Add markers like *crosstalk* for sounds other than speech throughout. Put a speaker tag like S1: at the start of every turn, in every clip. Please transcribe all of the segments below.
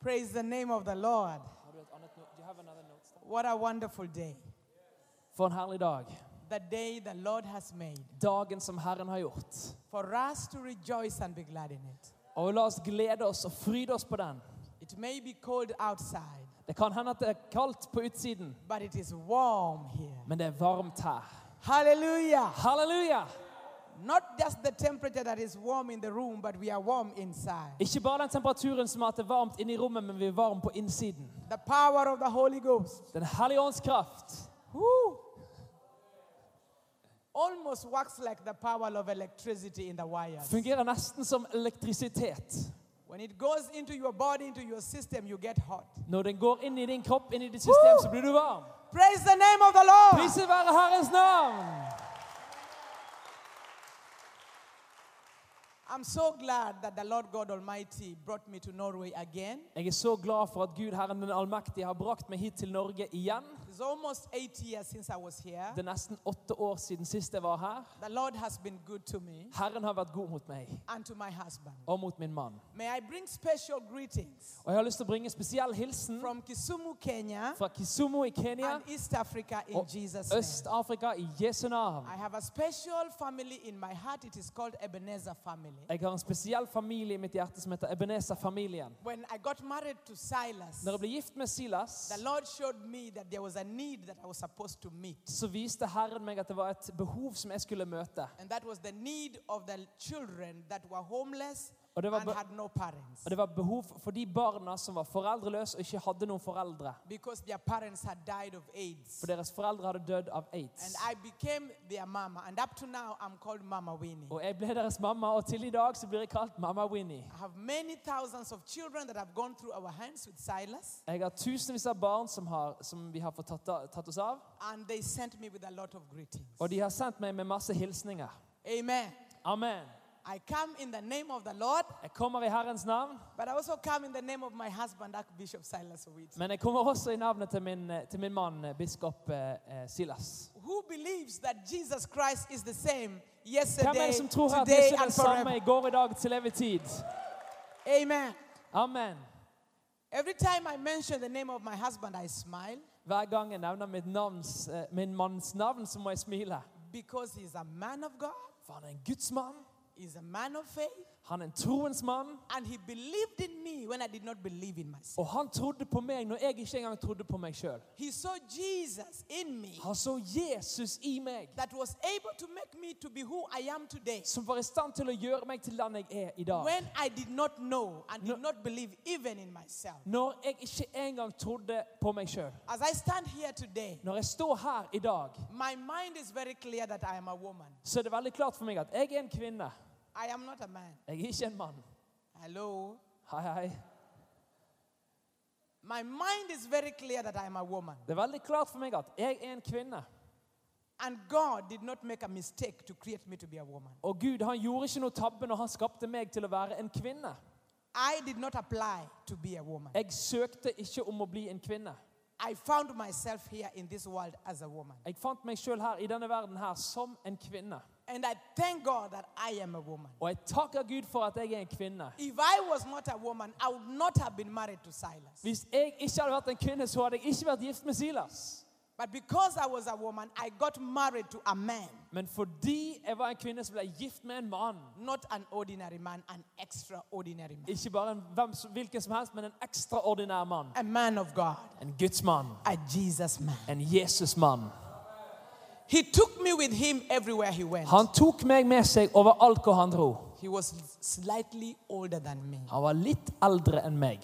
S1: Praise the name of the Lord.
S2: Har du et annet no- Do you have another notes there?
S1: What a wonderful day.
S2: For en herlig dag.
S1: The day the Lord has made
S2: Dagen som Herren har gjort.
S1: for us to rejoice and be glad in it.
S2: Og la oss glede oss og fryde oss på den.
S1: It may be cold outside,
S2: Det kan hende at det er kaldt på utsiden,
S1: but it is warm here.
S2: men det er varmt her.
S1: Hallelujah.
S2: Halleluja!
S1: Not just the temperature that is warm in the room, but we are warm inside.
S2: Ikke bare den temperaturen som er at det er varmt inne i rommet, men vi er varme på innsiden.
S1: The power of the Holy Ghost.
S2: Den hellige ånds kraft.
S1: Woo! Almost works like the power of electricity in the wires.
S2: Fungerer nesten som elektrisitet.
S1: When it goes into your body, into your system, you get hot.
S2: Når den går inn i din kropp, inn i ditt system, så blir du varm.
S1: Praise the name of the Lord.
S2: Priset være Herrens navn!
S1: I'm so glad that the Lord God Almighty brought me to Norway again.
S2: Jeg er så glad for at Gud Herren den allmektige har brakt meg hit til Norge igjen.
S1: It's almost eight years since I was here.
S2: Det er nesten åtte år siden sist jeg var her.
S1: The Lord has been good to me
S2: Herren har vært god mot meg
S1: and to my husband.
S2: og mot min mann.
S1: May I bring special greetings
S2: Og jeg har lyst til å bringe spesiell hilsen
S1: from Kisumu, Kenya,
S2: fra Kisumo i Kenya,
S1: and East Africa in
S2: Oh,
S1: Jesus' name.
S2: Øst-Afrika, i Jesu navn.
S1: I have a special family in my heart. It is called Ebenezer family.
S2: Jeg har en spesiell familie i mitt hjerte som heter Ebenezer-familien.
S1: When I got married to Silas,
S2: Når jeg ble gift med Silas,
S1: the Lord showed me that there was a need that I was supposed to meet.
S2: så viste Herren meg at det var et behov som jeg skulle møte.
S1: And that was the need of the children that were homeless
S2: Og det var
S1: and
S2: be-
S1: had no parents
S2: Og det var behov for de barna som var foreldreløse og ikke hadde noen foreldre.
S1: because their parents had died of AIDS.
S2: For deres foreldre hadde dødd av aids.
S1: And I became their mama. And up to now, I'm called Mama Winnie.
S2: Og jeg ble deres mamma, og til i dag så blir jeg kalt Mamma Winnie.
S1: I have many thousands of children that have gone through our hands with Silas,
S2: Jeg har tusenvis av barn som, har, som vi har fått tatt, av- tatt oss av,
S1: and they sent me with a lot of greetings.
S2: og de har sendt meg med masse hilsninger.
S1: Amen.
S2: Amen.
S1: I come in the name of the Lord,
S2: Jeg kommer i Herrens navn,
S1: but I also come in the name of my husband, Archbishop Silas Owiti,
S2: men jeg kommer også i navnet til min, til min mann, eh, biskop eh, eh, Silas.
S1: who believes that Jesus Christ is the same
S2: Hvem er
S1: yesterday,
S2: det som tror at
S1: today,
S2: Jesus er
S1: and
S2: det samme
S1: forever.
S2: i går, i dag, til evig tid?
S1: Amen.
S2: Amen.
S1: Every time I mention the name of my husband, I smile
S2: Hver gang jeg nevner mitt navns, eh, min manns navn, så må jeg smile.
S1: because he's a man of God,
S2: For han er en gudsmann,
S1: he's a man of faith,
S2: han er en troens mann,
S1: and he believed in me when I did not believe in myself.
S2: og han trodde på meg når jeg ikke engang trodde på meg sjøl.
S1: He saw Jesus in me
S2: Han så Jesus i meg,
S1: that was able to make me to be who I am today.
S2: som var i stand til å gjøre meg til den jeg er i dag.
S1: When I did not know and
S2: No.
S1: did not believe even in myself.
S2: Når jeg ikke engang trodde på meg sjøl.
S1: As I stand here today,
S2: Når jeg står her i dag,
S1: my mind is very clear that I am a woman.
S2: så er det veldig klart for meg at jeg er en kvinne.
S1: I am not a man.
S2: Jeg er ikke en mann.
S1: Hello?
S2: Hei, hei.
S1: My mind is very clear that I am a woman.
S2: Det er veldig klart for meg at jeg er en kvinne.
S1: And God did not make a mistake to create me to be a woman.
S2: Og Gud han gjorde ikke noe tabbe når han skapte meg til å være en kvinne.
S1: I did not apply to be a woman.
S2: Jeg søkte ikke om å bli en kvinne.
S1: I found myself here in this world as a woman.
S2: Jeg fant meg sjøl her i denne verden her som en kvinne.
S1: And I thank God that I am a woman.
S2: Og jeg takker Gud for at jeg er en kvinne.
S1: If I was not a woman, I would not have been married to Silas.
S2: Hvis jeg ikke hadde vært en kvinne, så hadde jeg ikke vært gift med Silas.
S1: But because I was a woman, I got married to a man,
S2: Men fordi jeg var en kvinne, så ble jeg gift med en mann.
S1: not an ordinary man, an extraordinary man,
S2: Ikke bare en hvem, som- hvilken som helst, men en ekstraordinær mann.
S1: a man of God,
S2: En gudsmann.
S1: a Jesus man.
S2: En Jesusmann.
S1: He took me with him everywhere he went.
S2: Han tok meg med seg overalt hvor han dro.
S1: He was slightly older than me.
S2: Han var litt eldre enn meg.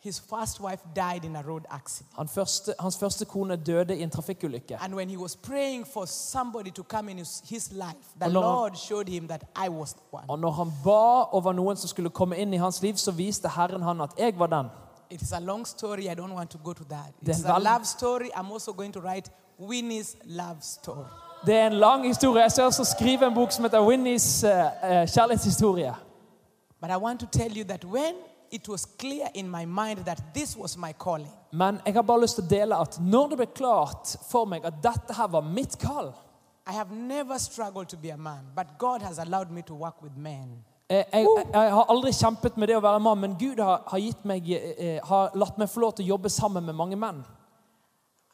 S1: His first wife died in a road accident.
S2: Han første, hans første kone døde i en trafikkulykke.
S1: And when he was praying for somebody to come in his, his life, the
S2: Lord-
S1: Lord showed him that I was the one.
S2: Og når han ba over noen som skulle komme inn i hans liv, så viste Herren han at jeg var den.
S1: It is a long story. I don't want to go to that.
S2: Then
S1: It's a
S2: val-
S1: love story. I'm also going to write Winnie's love story.
S2: Det er en lang historie. Jeg skal også skrive en bok som heter Winnies eh, eh, kjærlighetshistorie.
S1: But I want to tell you that when it was clear in my mind that this was my calling,
S2: Men jeg har bare lyst til å dele at når det ble klart for meg at dette her var mitt kall
S1: I have never struggled to be a man, but God has allowed me to work with men.
S2: Jeg, eh, jeg, jeg har aldri kjempet med det å være mann, men Gud har, har, gitt meg, eh, eh, har latt meg få lov til å jobbe sammen med mange menn.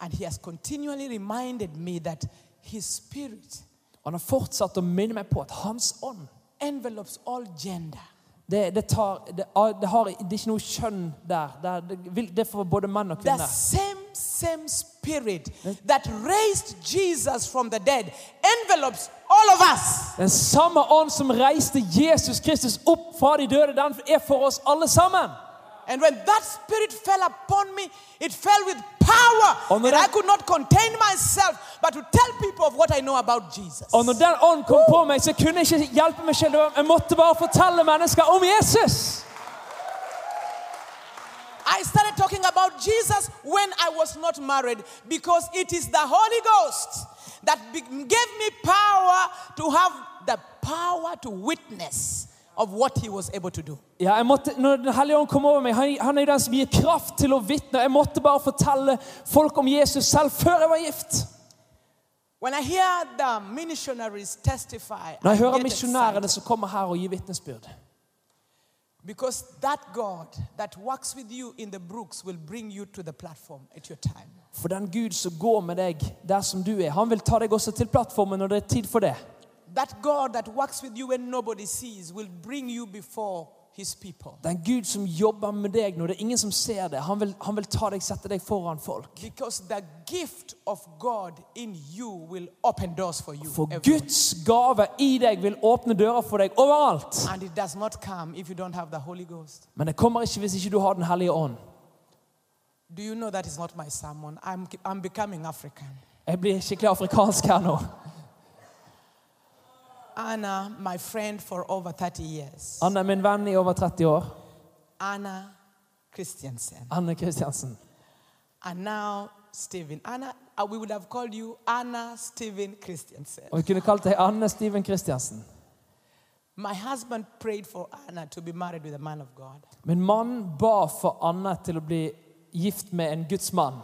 S1: And He has continually reminded me that His Spirit
S2: Og han har fortsatt å minne meg på at hans ånd,
S1: envelops all gender.
S2: det, det, tar, det, ah, det, har, det er ikke noe kjønn der. Det er, det, vil- det er for både menn og
S1: The
S2: kvinner.
S1: same, same Spirit that raised Jesus from the dead envelops all of us.
S2: Den samme ånd som reiste Jesus Kristus opp fra de døde, den er for oss alle sammen.
S1: And when that Spirit fell upon me, it fell with power.
S2: On the
S1: And I
S2: right-
S1: could not contain myself but to tell people of what I know about Jesus.
S2: Og når den ånd kom på meg, så kunne jeg ikke hjelpe meg selv. Jeg måtte bare fortelle mennesker om Jesus.
S1: I started talking about Jesus when I was not married because it is the Holy Ghost that be- gave me power to have the power to witness of what he was able to do.
S2: Ja, jeg måtte, når Den hellige ånd kom over meg, han, han er jo den som gir kraft til å vitne. Jeg måtte bare fortelle folk om Jesus selv før jeg var gift.
S1: When I hear the missionaries testify,
S2: Når
S1: I
S2: jeg hører
S1: get
S2: misjonærene
S1: excited
S2: som kommer her og gir vitnesbyrd.
S1: because that God that works with you in the brooks will bring you to the platform at your time.
S2: For den Gud som går med deg der som du er, han vil ta deg også til plattformen når det er tid for det.
S1: That God that works with you when nobody sees will bring you before his people.
S2: Den Gud som jobber med deg når det er ingen som ser det, han vil, han vil ta deg, sette deg foran folk.
S1: Because the gift of God in you will open doors for you.
S2: For
S1: everywhere.
S2: Guds gave i deg vil åpne dører for deg overalt.
S1: And it does not come if you don't have the Holy Ghost.
S2: Men det kommer ikke hvis ikke du har Den hellige ånd.
S1: Do you know that is not my sermon? I'm, I'm becoming African.
S2: Jeg blir skikkelig afrikansk her nå.
S1: Anna, my friend for over 30 years.
S2: Han er min venn i over 30 år.
S1: Anna Christiansen.
S2: Anne Kristiansen.
S1: And now Stephen. Anna, uh, we would have called you Anna Stephen Christiansen.
S2: Og vi kunne kalt deg Anne Steven Kristiansen.
S1: My husband prayed for Anna to be married with a man of God.
S2: Min mann ba for Anne til å bli gift med en Guds mann.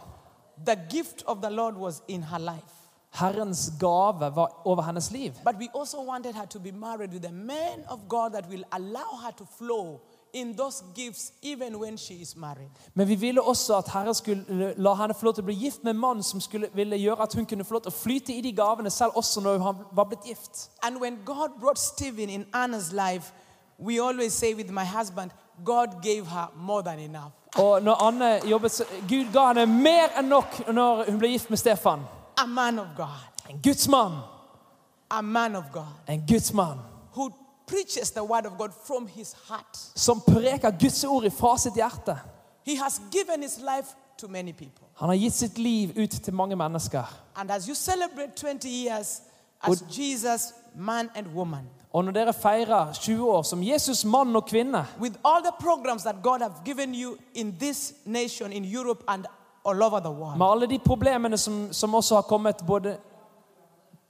S1: The gift of the Lord was in her life.
S2: Herrens gave var over hennes liv.
S1: But we also wanted her to be married with a man of God that will allow her to flow in those gifts even when she is married.
S2: Men vi ville også at Herren skulle la henne få lov til å bli gift med en mann som skulle, ville gjøre at hun kunne få lov til å flyte i de gavene selv også når hun var blitt gift.
S1: And when God brought Stephen in Anna's life, we always say with my husband, God gave her more than enough.
S2: Og når Anne jobbet, så- Gud ga henne mer enn nok når hun ble gift med Stefan.
S1: A man of God,
S2: En Guds mann.
S1: a man of God
S2: En Guds mann.
S1: who preaches the word of God from his heart.
S2: Som preker Guds ord ifra sitt hjerte.
S1: He has given his life to many people.
S2: Han har gitt sitt liv ut til mange mennesker.
S1: And as you celebrate 20 years as Jesus, man and woman,
S2: Og når dere feirer 20 år som Jesus, mann og kvinne,
S1: with all the programs that God have given you in this nation, in Europe, and all over the world.
S2: med alle de problemene som, som også har kommet, både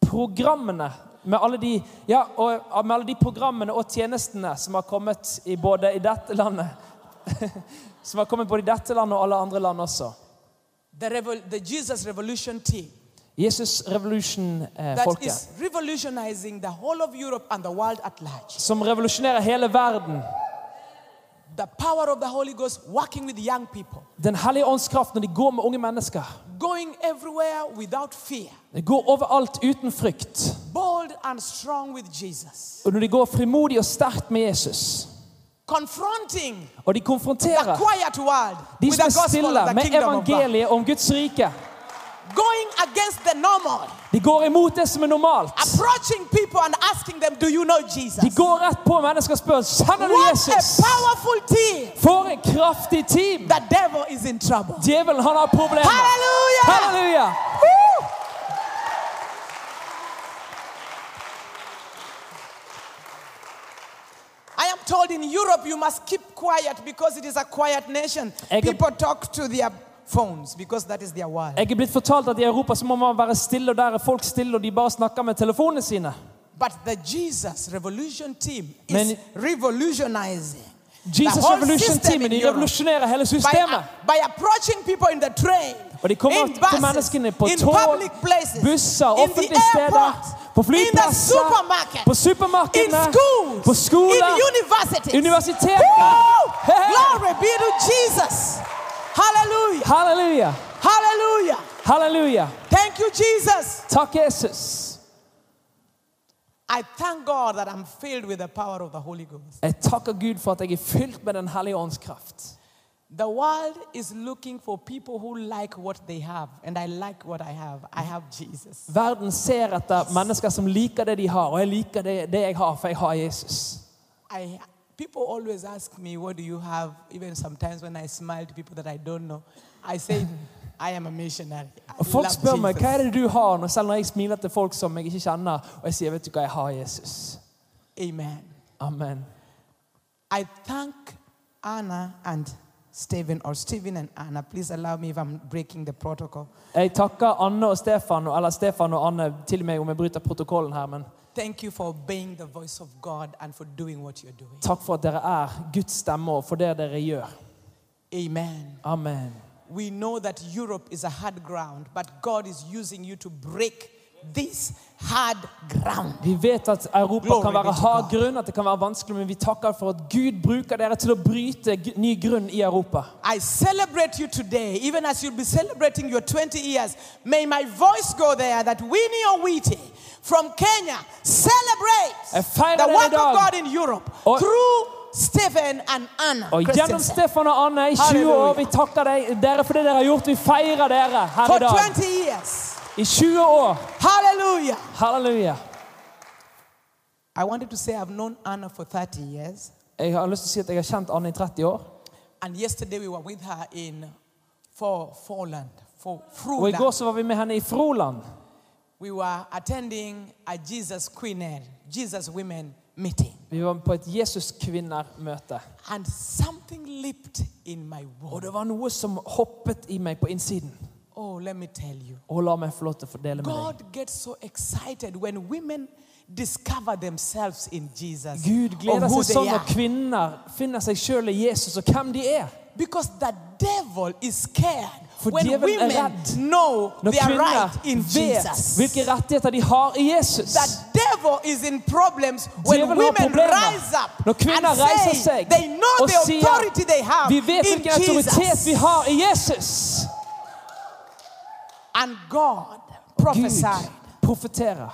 S2: programmene med alle, de, ja, og, med alle de programmene og tjenestene som har kommet i både i dette landet *laughs* Som har kommet både i dette landet og alle andre land også.
S1: The, revol- the Jesus Revolution team
S2: Jesus eh, Revolution-folket.
S1: that is revolutionizing the whole of Europe and the world at large.
S2: som revolusjonerer hele verden.
S1: The power of the Holy Ghost working with young people,
S2: Den hellige åndskraft når de går med unge mennesker.
S1: going everywhere without fear,
S2: De går overalt uten frykt.
S1: bold and strong with Jesus,
S2: Og når de går frimodig og sterkt med Jesus,
S1: confronting
S2: og de
S1: the
S2: konfronterer
S1: quiet world
S2: de
S1: with
S2: som
S1: the
S2: er
S1: gospel
S2: stille
S1: of the
S2: med
S1: kingdom of God,
S2: evangeliet om Guds rike.
S1: going against the normal,
S2: De går imot det som er normalt.
S1: approaching people and asking them, Do you know
S2: De
S1: Jesus?
S2: går rett på mennesker og spør kjenner du
S1: What
S2: Jesus.
S1: a powerful team.
S2: For et kraftig team!
S1: The devil is in trouble.
S2: Djevelen, han har problemer.
S1: Hallelujah.
S2: Halleluja!
S1: I am told in Europe you must keep quiet because it is a quiet nation.
S2: Ege-
S1: People talk to their phones because that is their world.
S2: Jeg er blitt fortalt at i Europa så må man være stille, og der er folk stille, og de bare snakker med telefonene sine.
S1: But the Jesus Revolution team is
S2: Men-
S1: revolutionizing.
S2: Jesus
S1: the whole
S2: Revolution
S1: system
S2: Team
S1: in
S2: de
S1: Europe
S2: revolusjonerer hele
S1: by,
S2: systemet.
S1: by approaching people in the train,
S2: Og de kommer
S1: in
S2: til
S1: buses,
S2: menneskene på
S1: in
S2: tog,
S1: public places,
S2: busser,
S1: in the
S2: offentlige steder,
S1: airport,
S2: På
S1: in the
S2: flyplasser,
S1: supermarket,
S2: på
S1: in
S2: supermarkedene,
S1: schools,
S2: på skoler,
S1: in universities.
S2: universiteter.
S1: Woo!
S2: Hey.
S1: Glory be to Jesus. Hallelujah.
S2: Halleluja!
S1: Hallelujah.
S2: Halleluja!
S1: Thank you, Jesus.
S2: Takk, Jesus.
S1: I thank God that I'm filled with the power of the Holy Ghost.
S2: Jeg takker Gud for at jeg er fylt med Den hellige ånds kraft.
S1: The world is looking for people who like what they have, and I like what I have. I have Jesus.
S2: Verden ser etter mennesker som liker det de har, og jeg liker det, det jeg har, for jeg har Jesus.
S1: I people always ask me, "What do you have?" Even sometimes when I smile to people that I don't know, I say, *laughs* "I am a missionary." I
S2: Og Folk
S1: love
S2: spør meg
S1: Jesus."
S2: hva er det du har, når, selv når jeg smiler til folk som jeg ikke kjenner, og jeg sier vet du hva, jeg har Jesus.
S1: Amen.
S2: Amen.
S1: I thank Anna and Stephen, or Stephen and Anna. Please allow me if I'm breaking the protocol.
S2: Jeg takker Anne og Stefan, eller Stefan og Anne, til og med om jeg bryter protokollen her, men
S1: Thank you for obeying the voice of God and for doing what you're doing.
S2: takk for at dere er Guds stemme, og for det dere gjør.
S1: Amen.
S2: Amen.
S1: We know that Europe is a hard ground, but God is using you to break this hard ground.
S2: Vi vet at Europa
S1: Glory
S2: kan
S1: be
S2: være
S1: to God.
S2: hard grunn, at det kan være vanskelig, men vi takker for at Gud bruker dere til å bryte gu- ny grunn i Europa.
S1: I celebrate you today, even as you'll be celebrating your 20 years. May my voice go there that Winnie Owiti from Kenya celebrates
S2: I find
S1: the
S2: that
S1: work of
S2: dog.
S1: God in Europe
S2: Or-
S1: through Stephen and Anna.
S2: Og gjennom
S1: Christensen.
S2: Stefan og Anne i 20 år, vi takker deg, dere for det dere har gjort. Vi feirer dere her
S1: For
S2: i dag.
S1: 20 years.
S2: I 20 år.
S1: Hallelujah.
S2: Halleluja.
S1: I wanted to say I've known Anna for 30 years.
S2: Jeg har lyst til å si at jeg har kjent Anne i 30 år.
S1: And yesterday we were with her in for Forland, for
S2: Og i går
S1: Fruland.
S2: så var vi med henne i Froland.
S1: We were attending a Jesus Queen, Jesus Women meeting.
S2: Vi var på et Jesus-kvinner-møte.
S1: And something leaped in my
S2: Og
S1: womb.
S2: det var noe som hoppet i meg på innsiden.
S1: Oh, let me tell you.
S2: Og la meg få lov til å fordele med deg.
S1: God gets so excited when women discover themselves in Jesus.
S2: Gud gleder
S1: of who
S2: seg sånn
S1: they
S2: når
S1: are.
S2: kvinner finner seg sjøl i Jesus og hvem de er.
S1: Because the devil is scared
S2: For
S1: when
S2: djevelen er
S1: women
S2: redd.
S1: know
S2: Når
S1: they are
S2: kvinner
S1: right in
S2: vet
S1: Jesus.
S2: hvilke rettigheter de har i Jesus.
S1: The devil is in problems when
S2: Djevelen har
S1: women
S2: problemer.
S1: rise up
S2: Når kvinner
S1: and
S2: reiser
S1: say
S2: seg
S1: they know
S2: og
S1: the authority they
S2: sier
S1: have
S2: Vi vet
S1: in
S2: hvilken autoritet vi
S1: Jesus.
S2: har i Jesus.
S1: And God
S2: Gud
S1: prophesied
S2: profeterer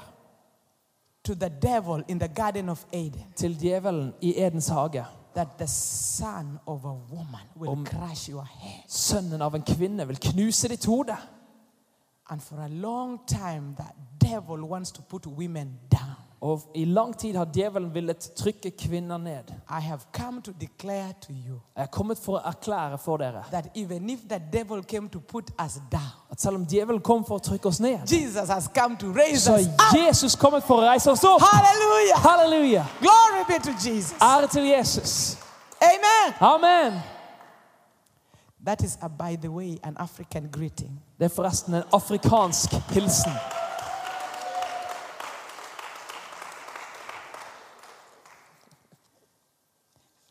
S1: to the devil in the Garden of Eden
S2: til djevelen i Edens hage.
S1: that the son of a woman will
S2: Om-
S1: crush your head.
S2: Sønnen av en kvinne vil knuse ditt hode.
S1: And for a long time, that devil wants to put women down.
S2: Og i lang tid har djevelen villet trykke kvinner ned.
S1: I have come to declare to you
S2: Jeg er kommet for å erklære for dere
S1: that even if the devil came to put us down,
S2: at selv om djevelen kom for å trykke oss ned,
S1: Jesus has come to raise
S2: så
S1: us up.
S2: er Jesus kommet for å reise oss opp.
S1: Hallelujah.
S2: Halleluja!
S1: Glory be to Jesus.
S2: Ære til Jesus.
S1: Amen.
S2: Amen!
S1: That is, uh, by the way, an African greeting.
S2: Det er forresten en afrikansk hilsen.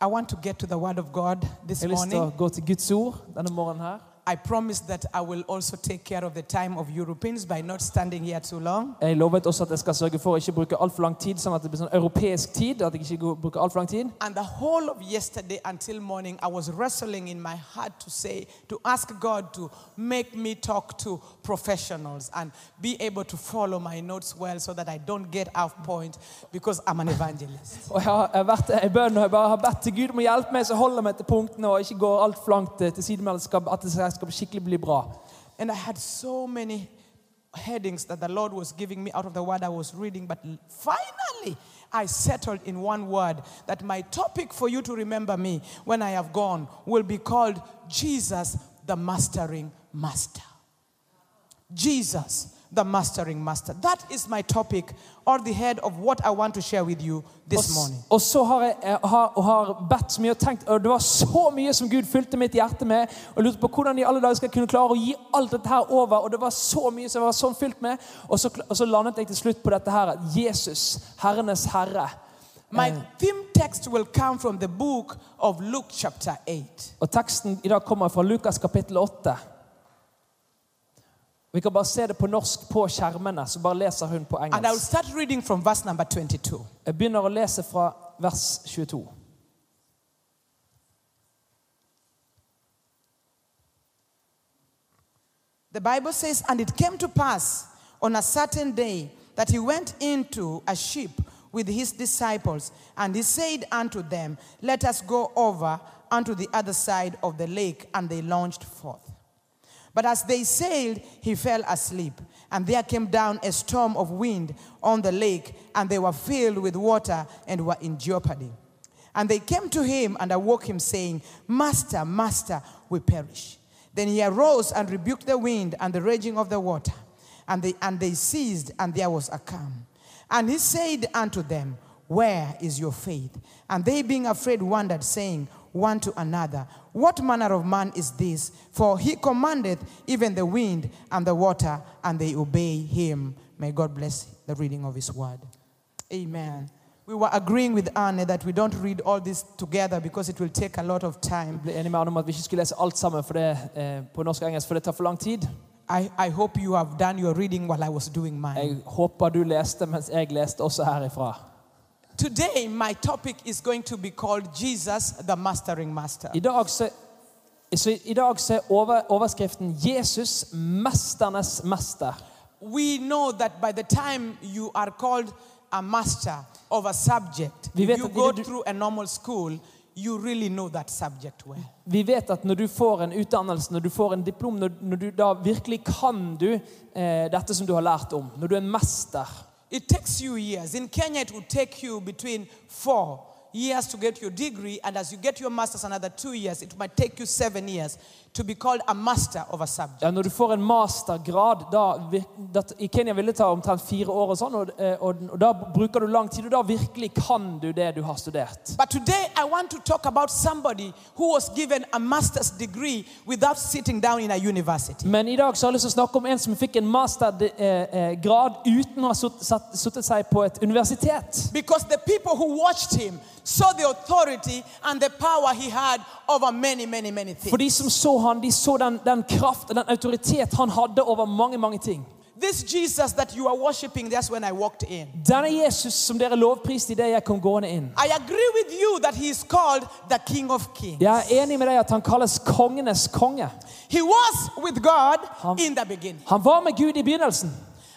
S1: I want to get to the Word of God this
S2: Jeg har lyst til å
S1: morning.
S2: gå til Guds ord denne morgenen her.
S1: I promise that I will also take care of the time of Europeans by not standing here too long.
S2: Jeg lovet også at jeg skal sørge for å ikke bruke altfor lang tid, sånn at det blir sånn europeisk tid. at jeg ikke går- bruker alt for lang tid.
S1: And the whole of yesterday until morning, I was wrestling in my heart to say, to ask God to make me talk to professionals and be able to follow my notes well so that I don't get off point because I'm an evangelist.
S2: Og jeg har jeg har vært i bønn og jeg bare har bedt til Gud om å hjelpe meg, så holder jeg meg til punktene og ikke går alt for langt eh, til siden, men at det skal- at det skal skal skikkelig bli bra.
S1: And I had so many headings that the Lord was giving me out of the word I was reading, but l- finally I settled in one word that my topic for you to remember me when I have gone will be called Jesus the Mastering Master. Jesus the Mastering Master. That is my topic or the head of what I want to share with you
S2: Og,
S1: this
S2: s-
S1: morning.
S2: og så har jeg, jeg har, og har bedt så mye og tenkt, og det var så mye som Gud fylte mitt hjerte med, og lurte på hvordan i alle dager skal jeg kunne klare å gi alt dette her over, og det var så mye som jeg var sånn fylt med, og så, kl- og så landet jeg til slutt på dette her, at Jesus, Herrenes Herre.
S1: My theme text will come from the book of Luke, chapter 8.
S2: Og teksten i dag kommer fra Lukas kapittel 8. Vi kan bare se det på norsk på skjermene, så bare leser hun på
S1: And I'll
S2: engelsk.
S1: start reading from verse number 22.
S2: Jeg begynner å lese fra vers 22.
S1: The Bible says, And it came to pass on a certain day that he went into a ship with his disciples, and he said unto them, Let us go over unto the other side of the lake. And they launched forth. But as they sailed, he fell asleep. And there came down a storm of wind on the lake, and they were filled with water and were in jeopardy. And they came to him and awoke him, saying, Master, Master, we perish. Then he arose and rebuked the wind and the raging of the water. And they, and they ceased, and there was a calm. And he said unto them, Where is your faith? And they, being afraid, wondered, saying one to another, What manner of man is this? For he commandeth even the wind and the water, and they obey him. May God bless the reading of his word. Amen. We were agreeing with Anne that we don't read all this together because it will take a lot of time.
S2: Jeg ble enig med han om at vi ikke skulle lese alt sammen for det, eh, på norsk og engelsk, for det tar for lang tid.
S1: I, I hope you have done your reading while I was doing mine.
S2: Jeg håper du leste mens jeg leste også herifra.
S1: Today, my topic is going to be called Jesus, the Mastering Master.
S2: I dag så, så i dag så er over, overskriften 'Jesus mesternes mester'.
S1: We know that by the time you are called a master of a subject,
S2: Vi vet
S1: if you
S2: att-
S1: go
S2: du-
S1: through a normal school, you really know that subject well.
S2: Vi vet at når du får en utdannelse, når du får en diplom, når, når du da virkelig kan du eh, dette som du har lært om, når du er mester
S1: It takes you years. In Kenya, it would take you between four years to get your degree, and as you get your master's, another two years. It might take you seven years to be called a master of a subject.
S2: ja, Når du får en mastergrad da, vir- da, I Kenya ville det ta omtrent fire år og sånn, og, eh, og, og da bruker du lang tid, og da virkelig kan du det du har studert.
S1: But today I want to talk about somebody who was given a master's degree without sitting down in a university.
S2: Men i dag så har jeg lyst til å snakke om en som fikk en mastergrad uten å ha sutt- satt- suttet seg på et universitet.
S1: Because the people who watched him saw the authority and the power he had over many, many, many
S2: For
S1: things.
S2: de som så han, de så den, den kraft og den autoritet han hadde over mange, mange ting.
S1: This Jesus that you are worshiping, that's when I walked in.
S2: Denne Jesus som dere lovpriste idet jeg kom gående inn.
S1: I agree with you that he is called the King of Kings.
S2: Jeg er enig med deg at han kalles kongenes konge.
S1: He was with God
S2: Hum-
S1: in the beginning.
S2: Han var med Gud i begynnelsen.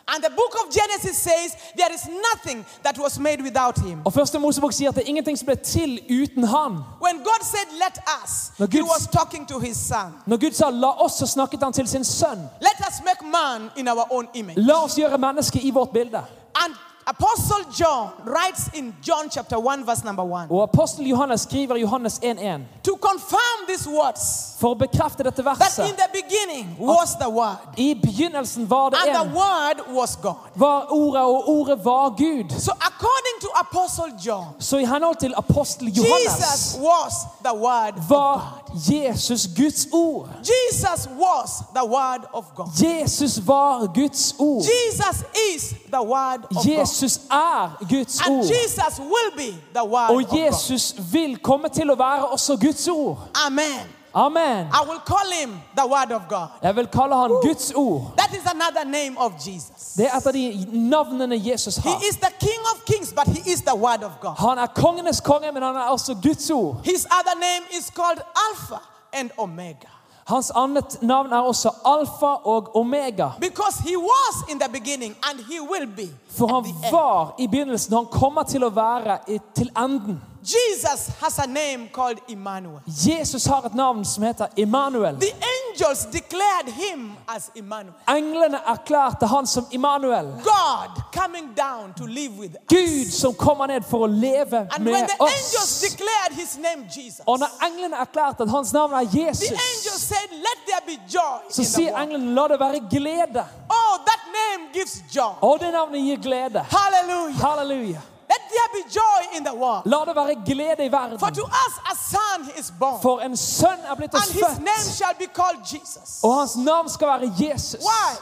S1: And the book of Genesis says there is nothing that was made without him.
S2: Og Første Mosebok sier at det er ingenting som ble til uten han.
S1: When God said, Let us,
S2: Now,
S1: he
S2: Gibbs-
S1: was talking to his son.
S2: Når Gud sa 'la oss', så snakket han til sin sønn.
S1: Let us make man in our own image.
S2: La oss gjøre mennesket i vårt bilde.
S1: And Apostle John writes in John chapter 1, verse number 1
S2: Og apostel Johannes skriver i Johannes 1.1
S1: to confirm these words
S2: for å bekrefte dette
S1: that in
S2: verset.
S1: the beginning was the Word,
S2: I begynnelsen var det
S1: and the
S2: en,
S1: Word was God.
S2: var ordet, og ordet var Gud.
S1: So, according to Apostle John,
S2: Så i henhold til apostel
S1: Jesus
S2: Johannes
S1: was the Word.
S2: var Jesus Guds ord.
S1: Jesus was the Word of God.
S2: Jesus var Guds ord.
S1: Jesus is the Word of God.
S2: Jesus er Guds
S1: And
S2: ord.
S1: Jesus will be the Word of
S2: Og
S1: God.
S2: Jesus vil komme til å være også Guds ord.
S1: Amen.
S2: Amen.
S1: I will call him the Word of God.
S2: Jeg vil kalle han Guds ord.
S1: That is another name of Jesus.
S2: Det er et av de navnene Jesus
S1: He
S2: har.
S1: is the King of Kings, but he is the Word of God.
S2: Han er kongenes konge, men han er også Guds ord.
S1: His other name is called Alpha and Omega
S2: Hans annet navn er også alfa og omega.
S1: because he was in the beginning and he will be.
S2: For han var i begynnelsen, og han kommer til å være i, til enden.
S1: Jesus has a name called Emmanuel.
S2: Jesus har et navn som heter Immanuel.
S1: The angels declared him as Emmanuel.
S2: Englene erklærte han som Immanuel.
S1: God coming down to live with us.
S2: Gud som kommer ned for å leve
S1: And when
S2: med
S1: the angels
S2: oss.
S1: declared his name Jesus,
S2: Og når englene erklærte at hans navn er
S1: the
S2: Jesus,
S1: angels said, Let there be joy.
S2: så
S1: in the
S2: sier
S1: world."
S2: englene la det være glede.
S1: Oh, that name gives joy.
S2: Og det navnet gir glede.
S1: Hallelujah.
S2: Halleluja.
S1: Let there be joy in the world.
S2: La det være glede i
S1: For
S2: verden.
S1: to us a son is born,
S2: For en sønn er blitt
S1: and
S2: oss
S1: his name
S2: født,
S1: shall be called Jesus.
S2: og hans navn skal være Jesus.
S1: Why?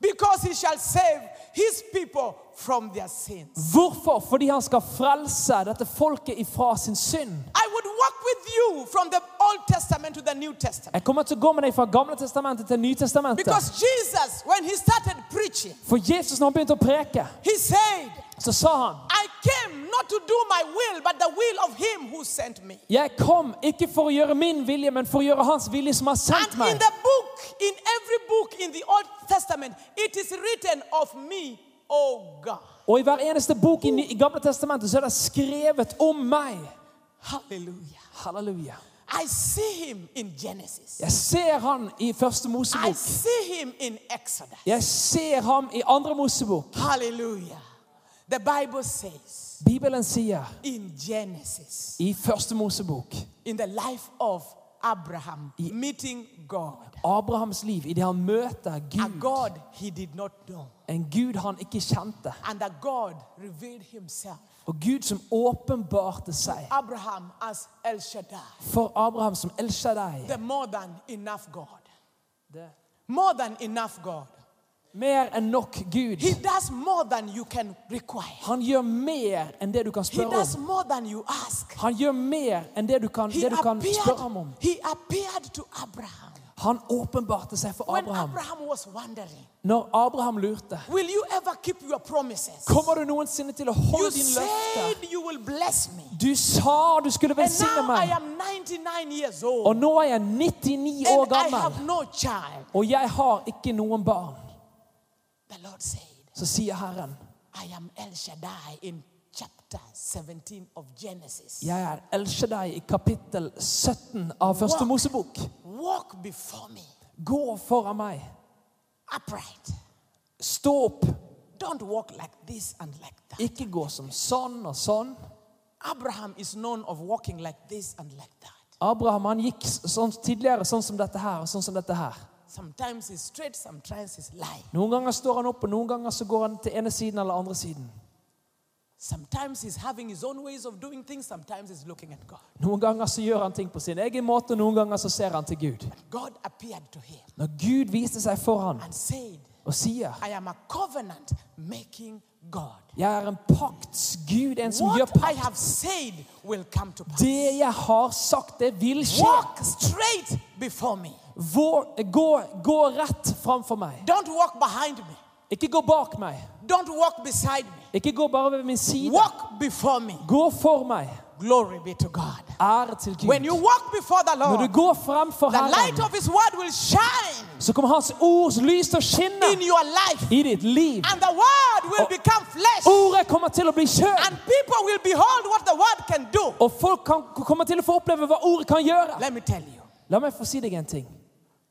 S1: Because he shall save his people from their sins.
S2: Hvorfor? Fordi han skal frelse dette folket ifra sin synd.
S1: I would walk with with you from the Old Testament to the New Testament.
S2: Jeg kommer til å gå med deg fra Gamle testamentet til Nytestamentet.
S1: Because Jesus, when he started preaching,
S2: For Jesus, når han begynte å preke,
S1: he said,
S2: så sa han
S1: I came not to do my will, but the will of him who sent me.
S2: Jeg kom ikke for å gjøre min vilje, men for å gjøre hans vilje som har
S1: And
S2: sendt
S1: in
S2: meg.
S1: the book, in every book in the Old Testament, it is written of me, O God.
S2: Og i hver eneste bok i, Ny- i Gamle testamentet så er det skrevet om meg.
S1: Hallelujah.
S2: Halleluja.
S1: I see him in Genesis.
S2: Jeg ser han i Første
S1: I
S2: Mosebok.
S1: see him in Exodus.
S2: Jeg ser ham i Andre Mosebok.
S1: Hallelujah. The Bible says
S2: Bibelen sier
S1: in Genesis,
S2: i Første Mosebok
S1: in the life of Abraham, meeting God,
S2: Abrahams liv idet han møter
S1: a
S2: Gud,
S1: God he did not know,
S2: en Gud han ikke kjente,
S1: and a God revealed himself.
S2: og Gud som åpenbarte seg
S1: Abraham as El Shaddai,
S2: for Abraham som El Shaddai.
S1: the more than enough God.
S2: Det-
S1: More than enough God.
S2: Mer enn nok Gud.
S1: He does more than you can require.
S2: Han gjør mer enn det du kan
S1: He
S2: spørre om.
S1: does more than you ask.
S2: Han gjør mer enn det du kan,
S1: He
S2: det du kan spørre ham om.
S1: appeared, he appeared to Abraham
S2: Han åpenbarte seg for
S1: when
S2: Abraham.
S1: Abraham was wondering,
S2: Når Abraham lurte
S1: Will you ever keep your promises?
S2: Kommer du noensinne til å
S1: You
S2: holde din
S1: said
S2: løfte?
S1: you will bless me.
S2: Du sa du skulle
S1: And
S2: velsigne
S1: now I
S2: meg,
S1: am 99 years old.
S2: og nå er jeg 99 år
S1: And I
S2: gammel,
S1: have no child.
S2: og jeg har ikke noen barn.
S1: The Lord said,
S2: Så sier Herren,
S1: I am El Shaddai in chapter 17 of Genesis.
S2: jeg er El Shaddai i kapittel 17 av Første
S1: Walk.
S2: Mosebok.
S1: Walk before me,
S2: Gå foran meg.
S1: upright.
S2: Stå opp.
S1: Don't walk like this and like that.
S2: Ikke gå som sånn og sånn.
S1: Abraham is known of walking like this and like that.
S2: Abraham han gikk s- sånn tidligere sånn som dette her og sånn som dette her.
S1: Sometimes he's straight, sometimes he's lying.
S2: Noen ganger står han opp, og noen ganger så går han til ene siden eller andre siden.
S1: Sometimes he's having his own ways of doing things, sometimes he's looking at God.
S2: Noen ganger så gjør han ting på sin egen måte, og noen ganger så ser han til Gud.
S1: God appeared to him
S2: Når Gud viste seg for han
S1: and said,
S2: og sier
S1: I am a covenant making God.
S2: Jeg er en paktsgud, en som gjør
S1: What I
S2: pakt.
S1: have said will come to pass.
S2: Det jeg har sagt, det vil skje.
S1: Walk straight before me.
S2: Vår, gå, gå rett framfor meg.
S1: Don't walk behind me.
S2: Ikke gå bak meg.
S1: Don't walk beside me.
S2: Ikke gå bare ved min side.
S1: Walk before me.
S2: Gå for meg.
S1: Glory be to God.
S2: Ære til
S1: When
S2: Gud.
S1: you walk before the
S2: Når du
S1: Lord,
S2: går fremfor
S1: the light
S2: Herren,
S1: of His word will shine
S2: så kommer Hans ords lys til å skinne
S1: in your life,
S2: i ditt liv.
S1: and the word will
S2: Og-
S1: become flesh,
S2: Ordet kommer til å bli kjørt,
S1: and people will behold what the word can do.
S2: og folk kan, kommer til å få oppleve hva ordet kan gjøre.
S1: Let me tell you,
S2: La meg få si deg en ting.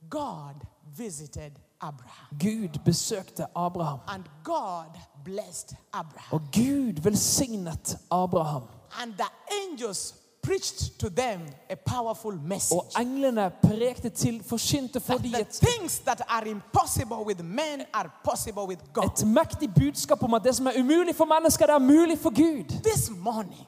S1: God visited Abraham,
S2: Gud besøkte Abraham,
S1: and God blessed Abraham,
S2: og Gud velsignet Abraham.
S1: and the angels preached to them a powerful message.
S2: Og englene prekte til, forkynte for dem
S1: The
S2: et,
S1: things that are impossible with men are possible with God.
S2: et mektig budskap om at det som er umulig for mennesker, det er mulig for Gud.
S1: This morning,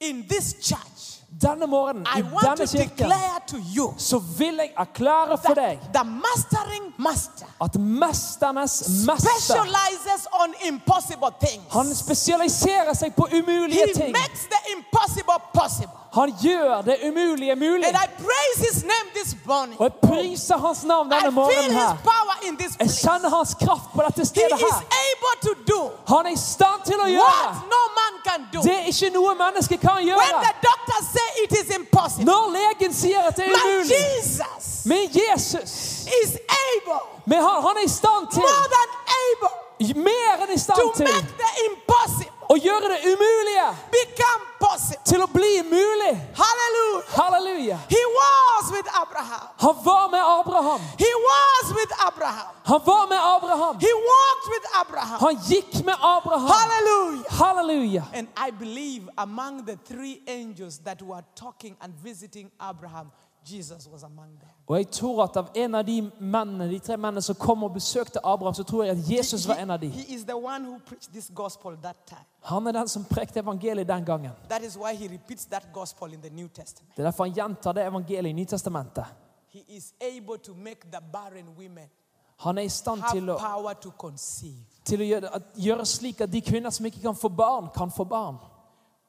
S1: in this church,
S2: Denne morgenen,
S1: I
S2: i
S1: want
S2: denne
S1: to
S2: kirken,
S1: declare to you
S2: så vil jeg erklære for deg
S1: that the mastering master
S2: at mesternes mester
S1: specializes on impossible
S2: Han
S1: things.
S2: spesialiserer seg på
S1: He
S2: umulige ting.
S1: makes the impossible possible.
S2: Han gjør det umulige mulig.
S1: And I praise his name this morning.
S2: Og jeg priser hans navn
S1: I
S2: denne
S1: feel
S2: morgenen
S1: his
S2: her.
S1: power in this
S2: Jeg
S1: place.
S2: kjenner hans kraft på dette
S1: He
S2: stedet
S1: is
S2: her.
S1: able to do
S2: Han er i stand til å gjøre
S1: what no man can do.
S2: det er ikke noe menneske kan
S1: When
S2: gjøre.
S1: the doctors say it is impossible,
S2: Når legen sier at det er
S1: my
S2: umulig,
S1: Jesus
S2: men Jesus
S1: is able,
S2: men han, han er i stand
S1: more
S2: til,
S1: than able,
S2: mer enn i
S1: to
S2: stand til,
S1: make the impossible
S2: å gjøre det umulige
S1: become possible.
S2: til å bli mulig.
S1: Hallelujah.
S2: Halleluja.
S1: He was with Abraham.
S2: Han var med Abraham.
S1: He was with Abraham.
S2: Han var med Abraham.
S1: He walked with Abraham.
S2: Han gikk med Abraham.
S1: Hallelujah.
S2: Halleluja.
S1: And I believe among the three angels that were talking and visiting Abraham, Jesus was among them.
S2: Og jeg tror at av en av de mennene, de tre mennene som kom og besøkte Abraham, så tror jeg at Jesus var en av de.
S1: He, he is the one who preached this gospel that time.
S2: Han er den som prekte evangeliet den gangen.
S1: That is why he repeats that gospel in the New Testament.
S2: Det er derfor han gjentar det evangeliet i Nytestamentet.
S1: He is able to make the barren women
S2: Han er i stand
S1: have
S2: til å,
S1: power to conceive.
S2: til å gjøre, at, gjøre slik at de kvinner som ikke kan få barn, kan få barn.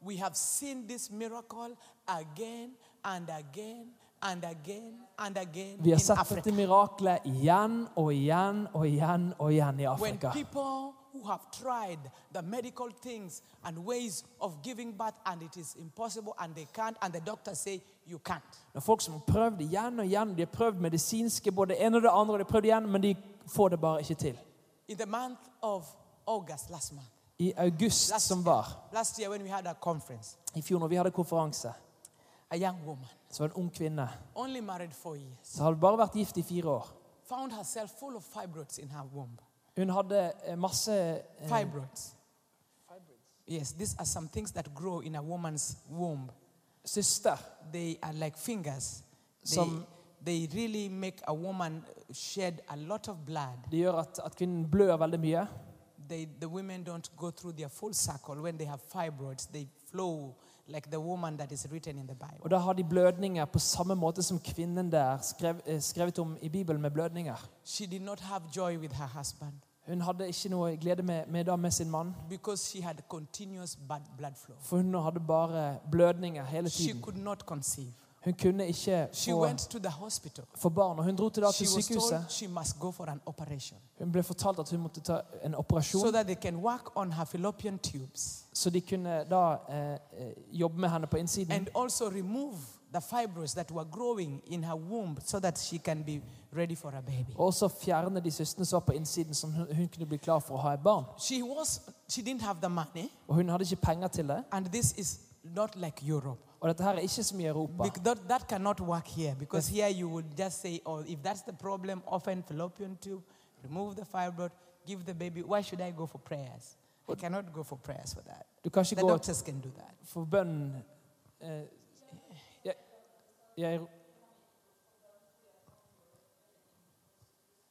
S1: We have seen this miracle again and again and again and again
S2: Vi har
S1: in
S2: sett
S1: Africa.
S2: dette miraklet igjen og igjen og igjen og igjen i
S1: When
S2: Afrika.
S1: people who have tried the medical things and ways of giving birth and it is impossible and they can't and the doctors say you can't.
S2: Når folk som har prøvd igjen og igjen, de har prøvd medisinske, både det ene og det andre, og de har prøvd igjen, men de får det bare ikke til.
S1: In the month of August last month,
S2: I august
S1: last,
S2: som var,
S1: last year when we had a conference,
S2: i fjor når vi hadde konferanse,
S1: a young woman,
S2: så var det en ung kvinne
S1: only married four years,
S2: som hadde bare vært gift i fire år.
S1: found herself full of fibroids in her womb.
S2: Hun hadde eh, masse eh,
S1: Fibroids. Yes, these are some things that grow in a woman's womb.
S2: søster
S1: They are like fingers. They,
S2: Some-
S1: they really make a woman shed a lot of blood.
S2: Det gjør at, at kvinnen blør veldig mye.
S1: They, the women don't go through their full cycle. When they have fibroids, they flow like the woman that is written in the Bible.
S2: Og da har de blødninger på samme måte som kvinnen der skrev, eh, skrevet om i Bibelen med blødninger.
S1: She did not have joy with her husband
S2: Hun hadde ikke noe glede med, med, da, med sin mann,
S1: because she had continuous bad blood flow.
S2: for hun hadde bare blødninger hele
S1: She
S2: tiden.
S1: could not conceive.
S2: Hun kunne ikke
S1: She
S2: få,
S1: went to the hospital.
S2: få barn, og hun dro til, da
S1: She
S2: til
S1: was told
S2: sykehuset.
S1: she must go for an operation
S2: Hun ble fortalt at hun måtte ta en
S1: so
S2: operasjon,
S1: that they can work on her fallopian tubes
S2: så de kunne da eh, eh, jobbe med henne på innsiden.
S1: and also remove the fibroids that were growing in her womb so that she can be ready for a baby.
S2: Og så fjerne de søstrene som var på innsiden, som hun, hun kunne bli klar for å ha et barn.
S1: She was she didn't have the money
S2: Og hun hadde ikke penger til det.
S1: and this is not like Europe.
S2: Og dette her er ikke som i Europa.
S1: Bec- that, that cannot work here because here you would just say, oh, if that's the problem, often fallopian tube, remove the fibroid, give the baby. Why should I go for prayers? I cannot go for prayers for that.
S2: Du kan ikke
S1: The
S2: gå
S1: doctors can do that.
S2: for bønn eh, jeg, jeg,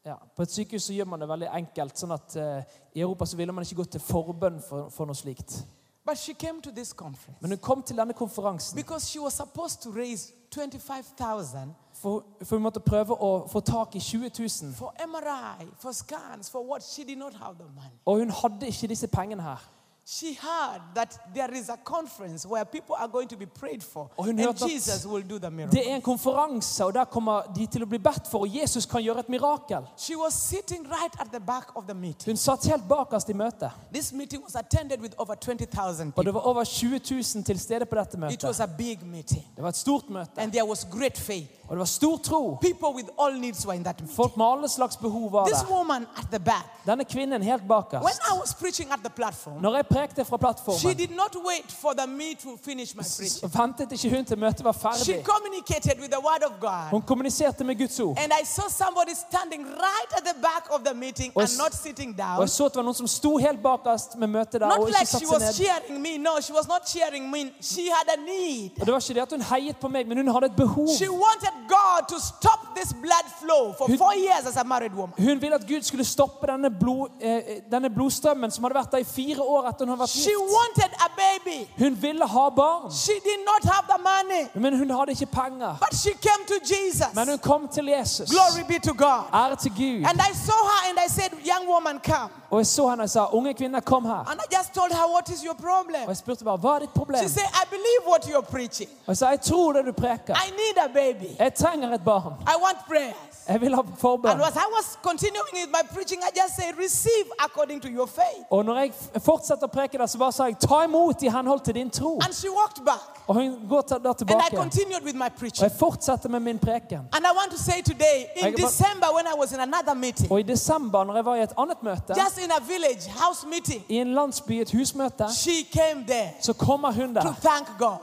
S2: ja, På et sykehus så gjør man det veldig enkelt. sånn at eh, I Europa så ville man ikke gått til forbønn for, for noe slikt.
S1: But she came to this conference
S2: Men hun kom til denne konferansen,
S1: because she was supposed to raise 25,000
S2: for, for hun måtte prøve å få tak i 20 000.
S1: for MRI, for scans, for what she did not have the money.
S2: Og hun hadde ikke disse pengene her.
S1: She heard that there is a conference where people are going to be prayed for
S2: Og hun
S1: and
S2: hørte at
S1: Jesus will do Oh, the
S2: Det
S1: miracle.
S2: er en konferanse, og der kommer de til å bli bedt for. Og Jesus kan gjøre et mirakel.
S1: She was sitting right at the back of the meeting.
S2: Hun satt helt bakerst i møtet.
S1: This meeting was attended with over 20,000
S2: Og
S1: people.
S2: det var over 20 000 til stede på dette
S1: It
S2: møtet.
S1: was a big meeting,
S2: Det var et stort møte,
S1: and there was great faith.
S2: og det var stor tro.
S1: People with all needs were in that meeting.
S2: Folk med alle slags behov var
S1: This
S2: der.
S1: woman at the back,
S2: Denne kvinnen helt
S1: when
S2: bakerst.
S1: I was preaching at the platform,
S2: Når jeg prekte fra
S1: she
S2: plattformen,
S1: did not wait for the me to finish my
S2: så
S1: preaching.
S2: ventet ikke hun til møtet var
S1: She
S2: ferdig.
S1: communicated with the word of God.
S2: Hun kommuniserte med Guds ord.
S1: And I saw somebody standing right at the back of the meeting
S2: Og
S1: and
S2: s-
S1: not sitting
S2: Og
S1: down.
S2: jeg så at det var noen som sto helt bakerst med møtet der
S1: Not
S2: og ikke
S1: like she
S2: satte seg
S1: was
S2: ned.
S1: cheering me. No, she was not cheering me. She had a need.
S2: Og det var ikke det at hun heiet på meg, men hun hadde et behov.
S1: She wanted God to stop this blood flow for
S2: Who-
S1: four years as a married woman.
S2: Hun ville at Gud skulle stoppe denne, blod, eh, denne blodstrømmen som hadde vært der i fire år etter hun hadde vært
S1: She
S2: gift.
S1: wanted a baby.
S2: Hun ville ha barn,
S1: She did not have the money,
S2: men hun hadde ikke penger.
S1: but she came to Jesus.
S2: Men hun kom til Jesus.
S1: Glory be to God.
S2: Ære til Gud.
S1: And I saw her and I said, Young woman, come.
S2: Og jeg så henne og sa, unge kvinner, kom her.
S1: And I just told her, What is your
S2: Og
S1: problem?
S2: jeg spurte bare, hva er ditt problem?
S1: She said, I believe what you're preaching.
S2: Og jeg sa, jeg tror det du preker.
S1: I need a baby.
S2: Jeg trenger et barn.
S1: I want prayers.
S2: Jeg vil ha
S1: And
S2: forbønn.
S1: as I was continuing with my preaching, I just said, Receive according to your faith.
S2: Og når jeg f- fortsetter å preke der, så bare sa jeg, ta imot i henhold til din tro.
S1: And she walked back.
S2: Og hun går til- da
S1: And I
S2: tilbake.
S1: continued with my
S2: Og
S1: preaching.
S2: jeg fortsetter med min preken.
S1: And I want to say today, in
S2: Like about-
S1: December, when I was in another meeting,
S2: Og i desember, når jeg var i et annet møte,
S1: just in a village house meeting,
S2: i en landsby, et husmøte,
S1: she came there.
S2: så kommer hun
S1: to
S2: der
S1: thank God.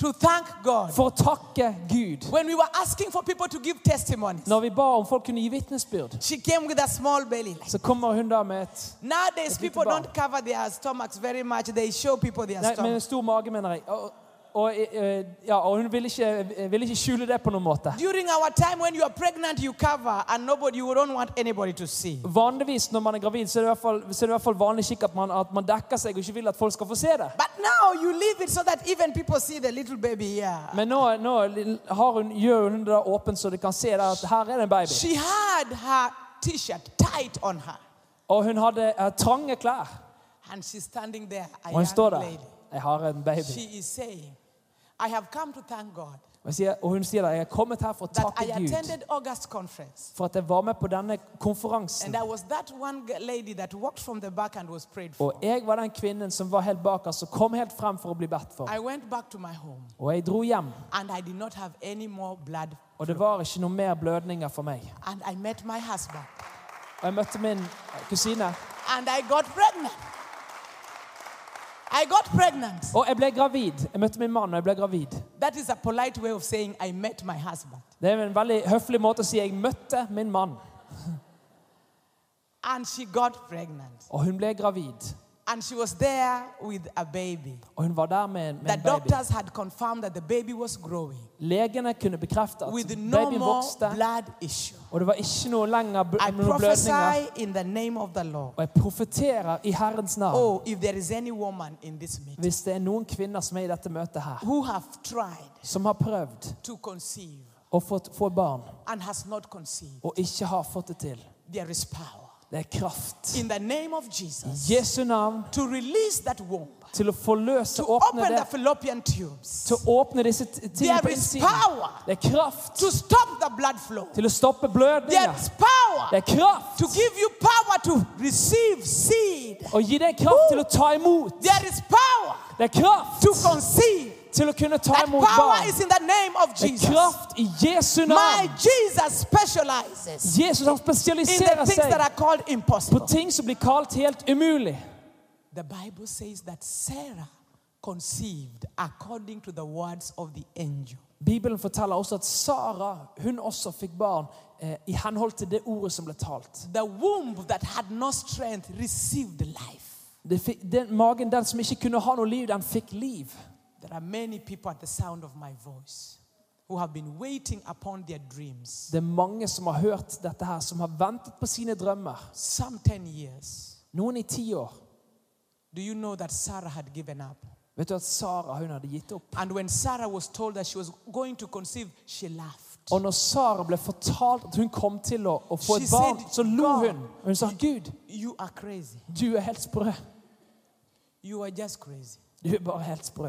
S1: To thank God.
S2: Ah. for å takke Gud.
S1: When we were asking for people to give testimonies,
S2: Når vi ba om folk kunne gi vitnesbyrd,
S1: she came with a small belly.
S2: så kommer hun da med et...
S1: Nowadays,
S2: little
S1: people
S2: bump.
S1: don't cover their stomachs very much. They show people their
S2: Nei, med en
S1: stomachs.
S2: stor mage, mener jeg. Og, og, eh, ja, og hun ville ikke, ville ikke skjule det på noen måte.
S1: During our time when you are pregnant, you cover, and nobody, you don't want anybody to see.
S2: Vanligvis når man er gravid, så er det i hvert fall, så er det i hvert fall vanlig skikk at man, at man dekker seg og ikke vil at folk skal få se det.
S1: But now you leave it so that even people see the little baby here.
S2: Men nå, nå har hun, gjør hun det åpent, så de kan se der at her er det en baby.
S1: She had her t shirt tight on her,
S2: Og hun hadde eh, trange klær.
S1: and she's standing there, a
S2: Og hun står
S1: young
S2: der.
S1: lady.
S2: Jeg har en baby.
S1: She is saying, I have come to thank God
S2: Og, jeg sier, og hun sier da, jeg er kommet her for å
S1: that I
S2: takke Gud
S1: attended August conference.
S2: for at jeg var med på denne
S1: And
S2: konferansen.
S1: there was that one g- lady that walked from the back and was prayed for.
S2: Og jeg var den kvinnen som var helt bak oss, som kom helt frem for å bli bedt for.
S1: I went back to my home
S2: Og jeg dro hjem,
S1: and I did not have any more blood.
S2: og det var ikke noe mer blødninger for meg.
S1: And I met my husband
S2: Og jeg møtte min kusine,
S1: and I got pregnant. I got pregnant.
S2: og jeg ble gravid. Jeg møtte min mann, og jeg ble gravid.
S1: That is a polite way of saying I met my husband.
S2: Det er en veldig høflig måte å si 'jeg møtte min mann',
S1: And she got pregnant.
S2: og hun ble gravid.
S1: And she was there with a baby.
S2: Og hun var der med en, med
S1: The
S2: en baby.
S1: doctors had confirmed that the baby was growing
S2: Legene kunne bekrefte at
S1: with no
S2: babyen
S1: more
S2: vokste,
S1: blood issue.
S2: og det var ikke noe lenger bl
S1: I
S2: noe blødninger.
S1: prophesy in the name of the Lord.
S2: Og jeg profeterer i Herrens navn,
S1: Oh, if there is any woman in this meeting
S2: hvis det er noen kvinner som er i dette møtet her,
S1: who have tried
S2: som har prøvd
S1: to conceive
S2: å få, få barn,
S1: and has not conceived,
S2: og ikke har fått det til,
S1: there is power
S2: det er kraft.
S1: in the name of Jesus
S2: Jesu navn
S1: to release that womb,
S2: til å forløse,
S1: to
S2: åpne
S1: open the
S2: det,
S1: fallopian tubes,
S2: til å åpne disse t- tingene
S1: There
S2: på
S1: is
S2: innsiden.
S1: power.
S2: Det er kraft
S1: to stop the blood flow.
S2: til å stoppe
S1: There
S2: blødninger.
S1: is power
S2: Det er kraft
S1: to give you power to receive seed.
S2: å gi deg kraft til å ta imot.
S1: There is power
S2: Det er kraft
S1: to conceive.
S2: til å kunne ta
S1: That
S2: imot
S1: power
S2: barn.
S1: is in the name of
S2: Det er
S1: Jesus.
S2: kraft i Jesu
S1: My
S2: navn.
S1: Jesus specializes
S2: Jesus han
S1: in the
S2: spesialiserer
S1: things
S2: seg
S1: that are called
S2: på
S1: impossible.
S2: ting som blir kalt helt umulig.
S1: The Bible says that Sarah conceived according to the words of the angel.
S2: Bibelen forteller også at Sara hun også fikk barn eh, i henhold til det ordet som ble talt.
S1: The womb that had no strength received life.
S2: Det fikk, den magen, den som ikke kunne ha noe liv, den fikk liv.
S1: There are many people at the sound of my voice who have been waiting upon their dreams,
S2: Det er mange som har hørt dette her, som har ventet på sine drømmer.
S1: some 10 years.
S2: Noen i ti år.
S1: Do you know that Sarah had given up?
S2: Vet du at Sara hun hadde gitt opp?
S1: And when Sarah was told that she was going to conceive, she laughed.
S2: Og når Sara ble fortalt at hun kom til å, å få
S1: She
S2: et barn,
S1: said,
S2: så lo
S1: "God."
S2: hun. Og hun sa, 'Gud,
S1: You are crazy.
S2: du er helt sprø.
S1: You are just crazy.
S2: Du er bare helt sprø.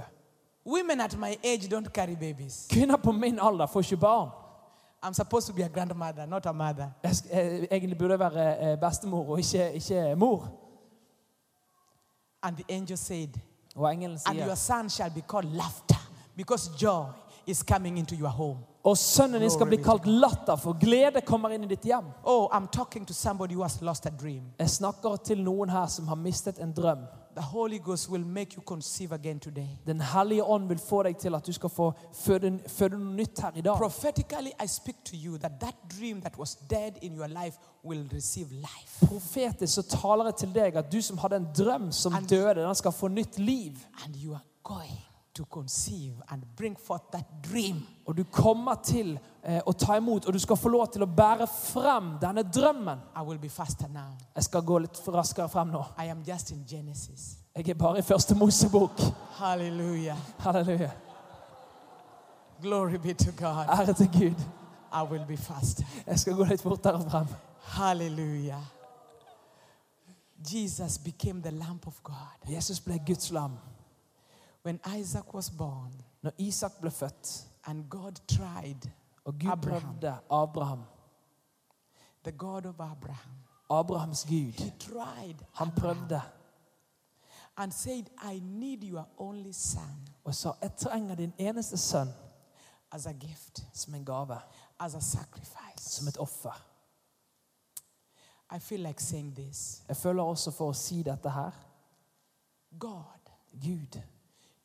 S1: Women at my age don't carry babies.
S2: Kvinner på min alder får ikke barn.
S1: I'm supposed to be a grandmother, not a mother.
S2: Jeg, sk- eh, egentlig burde jeg være eh, bestemor og ikke, ikke mor.
S1: And the angel said,
S2: Og engelen
S1: And your
S2: sier,
S1: son shall be called laughter, because joy is coming into your home.
S2: og sønnen din skal bli kalt latter, for glede kommer inn i ditt hjem.
S1: Oh, I'm talking to somebody who has lost a dream.
S2: Jeg snakker til noen her som har mistet en drøm.
S1: The Holy Ghost will make you conceive again today.
S2: Den hellige ånd vil få deg til at du skal få føde, føde noe nytt her i dag.
S1: Prophetically, I speak to you that that dream that was dead in your life will receive life.
S2: Profetisk så taler jeg til deg at du som hadde en drøm som
S1: And-
S2: døde, den skal få nytt liv.
S1: And you are going to conceive and bring forth that dream.
S2: Og du kommer til eh, å ta imot, og du skal få lov til å bære frem denne drømmen.
S1: I will be faster now.
S2: Jeg skal gå litt raskere frem nå.
S1: I am just in Genesis.
S2: Jeg er bare i første Mosebok.
S1: Hallelujah.
S2: Halleluja.
S1: Glory be to God.
S2: Ære til Gud.
S1: I will be faster.
S2: Jeg skal gå litt fortere frem.
S1: Hallelujah. Jesus became the lamp of God.
S2: Jesus ble Guds lam.
S1: When Isaac was born
S2: Når Isak ble født,
S1: and God tried
S2: og Gud
S1: Abraham.
S2: prøvde Abraham,
S1: the God of Abraham,
S2: Abrahams Gud,
S1: he tried
S2: han prøvde
S1: and said, I need your only son
S2: og sa, jeg trenger din eneste sønn
S1: as a gift,
S2: som en gave,
S1: as a sacrifice.
S2: som et offer.
S1: I feel like saying this
S2: Jeg føler også for å si dette her.
S1: God
S2: Gud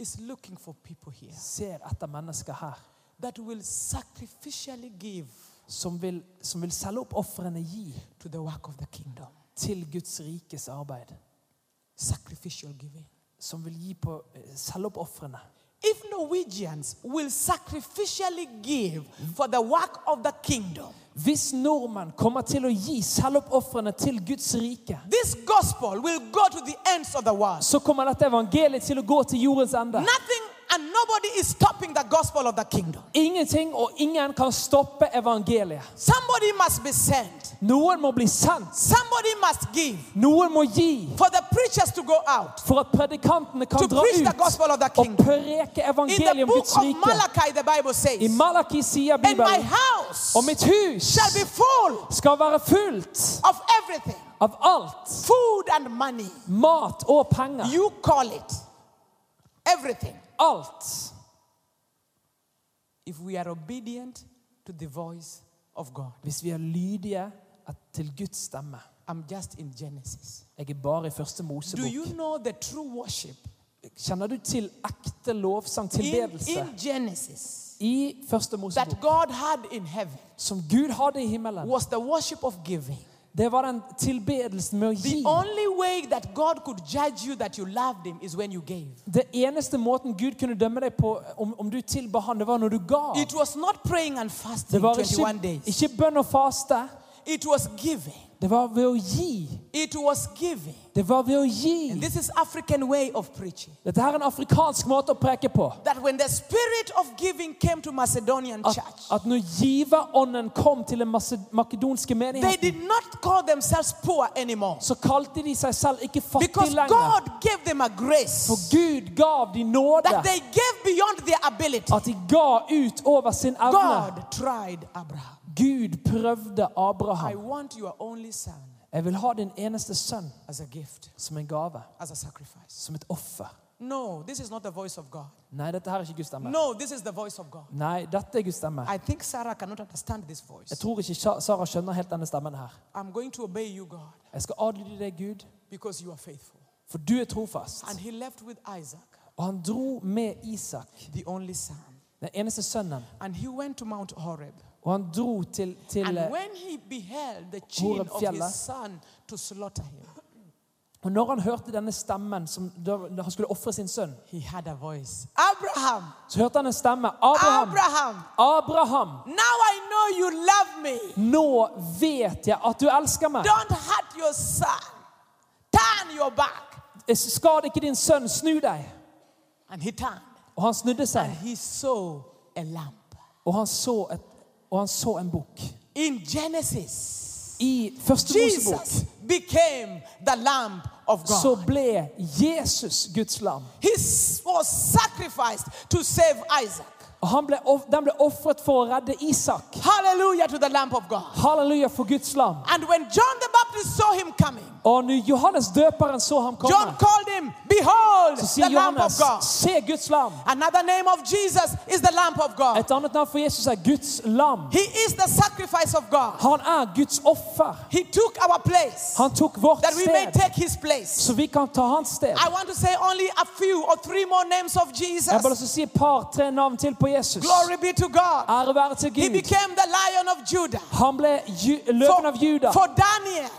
S1: is looking for people here
S2: ser etter mennesker her
S1: that will sacrificially give
S2: som vil, som vil selge opp ofrene gi
S1: to the work of the kingdom.
S2: til Guds rikes arbeid.
S1: Sacrificial giving.
S2: Som vil gi på, eh, selge opp ofrene.
S1: If Norwegians will sacrificially give for the work of the kingdom,
S2: Hvis nordmenn kommer til å gi selge opp ofrene til Guds rike,
S1: this gospel will go to the ends of the world.
S2: så kommer dette evangeliet til å gå til jordens ende.
S1: Nothing and nobody is stopping the gospel of the kingdom.
S2: Ingenting og ingen kan stoppe evangeliet.
S1: Somebody must be sent.
S2: Noen må bli sendt.
S1: Somebody must give
S2: Noen må gi
S1: for the preachers to go out
S2: For at predikantene kan
S1: to
S2: dra
S1: preach the
S2: ut
S1: gospel of the
S2: og
S1: kingdom.
S2: preke
S1: In the
S2: evangeliet om
S1: book
S2: Guds
S1: of
S2: rike.
S1: Malachi, the Bible says,
S2: I Malaki sier
S1: And my
S2: Bibelen
S1: house
S2: og mitt hus
S1: shall be full
S2: skal være fullt
S1: of everything
S2: av alt.
S1: food and money.
S2: Mat og penger.
S1: You call it everything.
S2: Alt.
S1: If we are obedient to the voice of God.
S2: Hvis vi er lydige at- til Guds stemme.
S1: I'm just in Genesis.
S2: Jeg er bare i første
S1: Do you
S2: Mosebok.
S1: know the true worship
S2: Kjenner du til ekte lovsang,
S1: in,
S2: tilbedelse,
S1: in Genesis
S2: i første
S1: that
S2: Mosebok?
S1: God had in heaven
S2: Som Gud hadde i himmelen.
S1: was the worship of giving?
S2: Det var den tilbedelsen med å
S1: The
S2: gi.
S1: only way that God could judge you that you loved Him is when you gave.
S2: Det eneste måten Gud kunne dømme deg på om, om du tilba han, det var når du ga.
S1: It was not praying and
S2: Det
S1: fasting
S2: var
S1: 21
S2: ikke,
S1: days,
S2: ikke bønn og faste.
S1: it was giving.
S2: Det var ved å gi.
S1: It was giving.
S2: Det var ved å gi.
S1: And this is African way of preaching.
S2: Dette her er en afrikansk måte å preke på.
S1: That when the spirit of giving came to Macedonian
S2: At,
S1: church,
S2: at når giverånden kom til den masse- makedonske
S1: they
S2: menigheten,
S1: did not call themselves poor anymore
S2: så kalte de seg selv ikke fattige
S1: because
S2: lenger.
S1: God gave them a
S2: For
S1: grace
S2: Gud gav de nåde.
S1: that they gave beyond their ability.
S2: At de ga ut over sin evne.
S1: God tried Abraham.
S2: Gud prøvde
S1: I
S2: Abraham.
S1: want your only son
S2: Jeg vil ha din eneste sønn
S1: as a gift,
S2: som en gave.
S1: as a sacrifice.
S2: Som et offer.
S1: No, this is not the voice of God.
S2: Nei, dette her er ikke Guds stemme.
S1: No, this is the voice of God.
S2: Nei, dette er Guds stemme.
S1: I think Sarah cannot understand this
S2: Jeg
S1: voice.
S2: tror ikke Sa- Sara skjønner helt denne stemmen her.
S1: I'm going to obey you, God,
S2: Jeg skal adlyde deg, Gud,
S1: because you are faithful.
S2: for du er trofast.
S1: And he left with Isaac,
S2: Og han dro med Isak,
S1: the only son.
S2: den eneste sønnen,
S1: And he went to Mount Horeb.
S2: og han dro til, til
S1: And
S2: eh,
S1: when he beheld the chin of
S2: Horeb-fjellet.
S1: his son to slaughter him,
S2: Og når han hørte denne stemmen som da da han skulle ofre sin sønn,
S1: he had a voice Abraham,
S2: så hørte han en stemme. Abraham!
S1: Abraham,
S2: Abraham!
S1: now I know you love me.
S2: Nå vet jeg at du elsker meg.
S1: Don't hurt your son. Turn your back.
S2: Skad ikke din sønn, snu deg.
S1: And he turned.
S2: Og han snudde seg,
S1: And he saw a lamp.
S2: og han så, et, og han så en bukk.
S1: In Genesis,
S2: I første Mosebok
S1: Jesus became the lamb of
S2: så
S1: God.
S2: ble Jesus Guds lam.
S1: He s- was sacrificed to save Isaac.
S2: Og han ble, of- den ble ofret for å redde Isak.
S1: Hallelujah to the lamb of God.
S2: Halleluja for Guds lam.
S1: And when John the Baptist saw him coming,
S2: Og når Johannes døperen så ham
S1: John
S2: komme,
S1: called him, Behold,
S2: så
S1: the
S2: sier
S1: Lamb of
S2: Johannes,
S1: God.
S2: se Guds lam.
S1: Another name of Jesus is the Lamb of God.
S2: Et annet navn for Jesus er Guds lam.
S1: He is the sacrifice of God.
S2: Han er Guds offer.
S1: He took our place
S2: Han tok vårt
S1: that we may
S2: sted,
S1: take his place.
S2: så vi kan ta hans sted.
S1: I want to say only a few or three more names of
S2: Jeg har bare
S1: Jesus.
S2: lyst til å si et par-tre navn til på Jesus.
S1: Glory be to God.
S2: Ære være til
S1: He
S2: Gud.
S1: became the lion of Judah.
S2: Han ble ju- løven av Juda.
S1: for Daniel,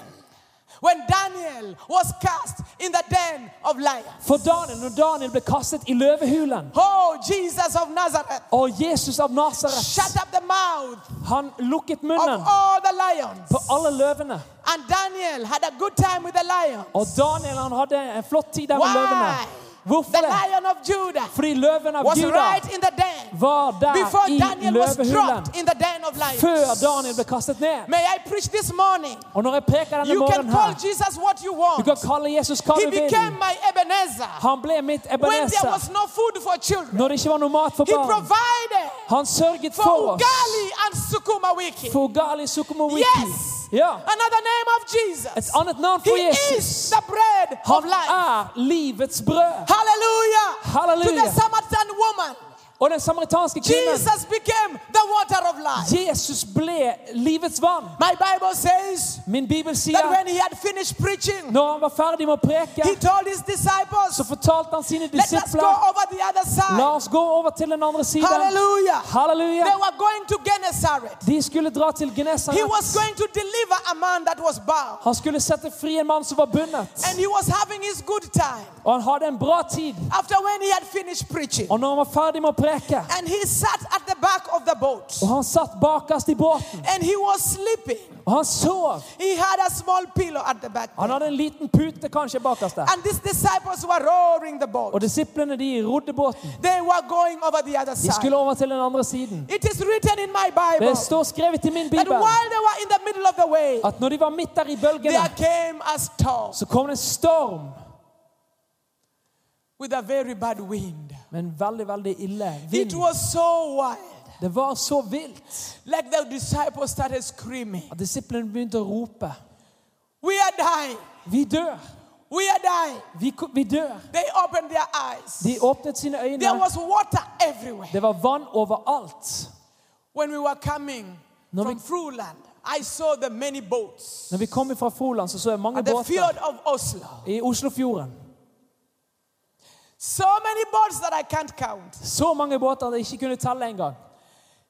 S1: when Daniel was cast in the den of lions.
S2: For Daniel, når Daniel ble kastet i løvehulen,
S1: Oh, Jesus of Nazareth,
S2: og Jesus av
S1: shut
S2: Nasaret,
S1: up the mouth
S2: han lukket
S1: of
S2: munnen
S1: all the lions.
S2: på alle løvene.
S1: And Daniel had a good time with the lion.
S2: Og Daniel han hadde en flott tid der med
S1: Why?
S2: løvene.
S1: The
S2: Hvorfor det?
S1: lion of Judah
S2: Fordi løven av
S1: was
S2: Juda
S1: right in the den
S2: var der
S1: before
S2: i
S1: Daniel was
S2: løvehulen
S1: dropped in the den of lions.
S2: før Daniel ble kastet ned.
S1: May I preach this morning?
S2: Og når jeg preker denne
S1: You can
S2: morgenen
S1: call
S2: her,
S1: Jesus what you
S2: du
S1: want.
S2: kan kalle Jesus hva
S1: He
S2: du vil.
S1: became my Ebenezer.
S2: Han ble mitt
S1: When there
S2: ebenezer
S1: was no food for children,
S2: når det ikke var noe mat for
S1: he
S2: barn.
S1: provided
S2: Han sørget for
S1: for
S2: oss.
S1: ugali and sukuma wiki.
S2: For Ugali Sukumowiki.
S1: Yes!
S2: Ja.
S1: Another name of
S2: Et
S1: Jesus.
S2: annet navn
S1: He
S2: for Jesus.
S1: is the bread of
S2: Han
S1: life.
S2: er livets brød.
S1: Hallelujah. To the
S2: Hallelujah.
S1: Samaritan woman,
S2: Og den samaritanske kvinnen
S1: Jesus became the water of life.
S2: Jesus ble livets vann.
S1: My Bible says
S2: Min bibel
S1: that
S2: sier
S1: when he had finished preaching,
S2: når han var ferdig med å preke,
S1: he told his disciples,
S2: så fortalte han sine
S1: Let us go
S2: disipler
S1: over the other
S2: La
S1: side.
S2: oss gå over til den andre siden.
S1: Hallelujah. They
S2: Halleluja.
S1: were going to Gennesaret.
S2: De skulle dra til
S1: He
S2: Genesaret.
S1: was going to deliver a man that was bound.
S2: Han skulle sette fri en mann som var bundet.
S1: And he was having his good time
S2: Og han hadde en bra tid.
S1: after when he had finished preaching.
S2: Og når han var ferdig med å preke,
S1: And he sat at the back of the boat.
S2: og han satt bakerst i båten,
S1: And he was sleeping.
S2: og han sov
S1: He had a small pillow at the back.
S2: Han hadde en liten pute kanskje bakerst der.
S1: And these disciples were rowing the
S2: Og
S1: boat.
S2: disiplene de rodde båten.
S1: They were going over the other
S2: De
S1: side.
S2: skulle over til den andre siden.
S1: It is written in my
S2: Det
S1: Bible
S2: står skrevet i min
S1: that
S2: bibel
S1: while they were in the middle of the way,
S2: at når de var midt der i
S1: there
S2: bølgene,
S1: came a storm.
S2: så kom det en storm.
S1: with a very bad wind.
S2: med en veldig, veldig ille
S1: It
S2: vind.
S1: was so wild.
S2: Det var så vilt
S1: Like the disciples started screaming,
S2: at disiplene begynte å rope.
S1: We are dying.
S2: Vi dør!
S1: We are dying.
S2: Vi, ko- vi dør!
S1: They opened their eyes.
S2: De åpnet sine
S1: There
S2: øyne.
S1: was water everywhere.
S2: Det var vann overalt.
S1: When we were coming
S2: No,
S1: from
S2: we-
S1: Fruland, I saw the many boats
S2: Når vi kom fra Froland, så så jeg mange
S1: at the
S2: båter
S1: fjord of Oslo.
S2: i Oslofjorden.
S1: So many boats that I can't count.
S2: Så mange båter at jeg ikke kunne telle engang.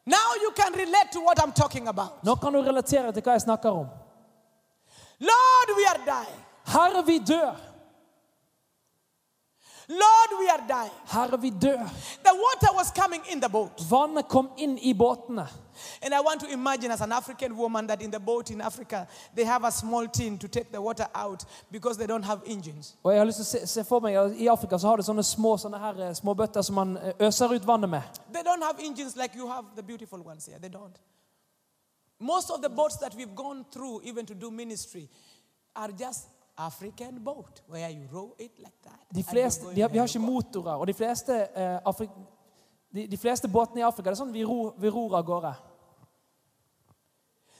S1: Now you can relate to what I'm talking about.
S2: Nå kan du relatere til hva jeg snakker om.
S1: Lord, we are dying.
S2: Herre, vi dør!
S1: Lord, we are dying.
S2: Herre, vi dør!
S1: The water was coming in the boat.
S2: Vannet kom inn i båtene.
S1: And I want to imagine as an African woman that in the boat in Africa, they have a small tin to take the water out because they don't have engines.
S2: Og jeg har lyst til å se, se for meg, at I Afrika så har de sånne små, sånne her, eh, små bøtter som man eh, øser ut vannet med.
S1: They don't have engines like you have the beautiful ones here. They don't. Most of the boats that we've gone through, even to do ministry, are just African boat where you row it like that.
S2: De
S1: and you
S2: fleste,
S1: go
S2: de har,
S1: in
S2: vi har
S1: and you go.
S2: ikke motorer. Og de fleste, eh, Afri- de, de fleste båtene i Afrika det er sånn vi ror, vi ror av gårde.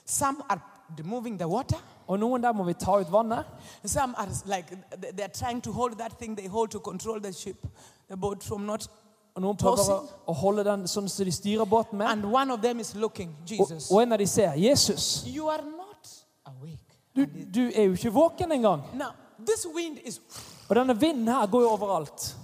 S1: Some are moving the water.
S2: Og noen der må vi ta ut vannet.
S1: Some are like they- they're trying to hold that thing they hold to control the ship, the boat from not.
S2: Og noen prøver å, å holde den sånn som de styrer båten med.
S1: And one of them is looking,
S2: Og,
S1: Jesus.
S2: og en av de ser Jesus.
S1: You are not awake.
S2: Du, du er jo ikke våken engang.
S1: Now, this wind is
S2: Og denne vinden her går jo overalt.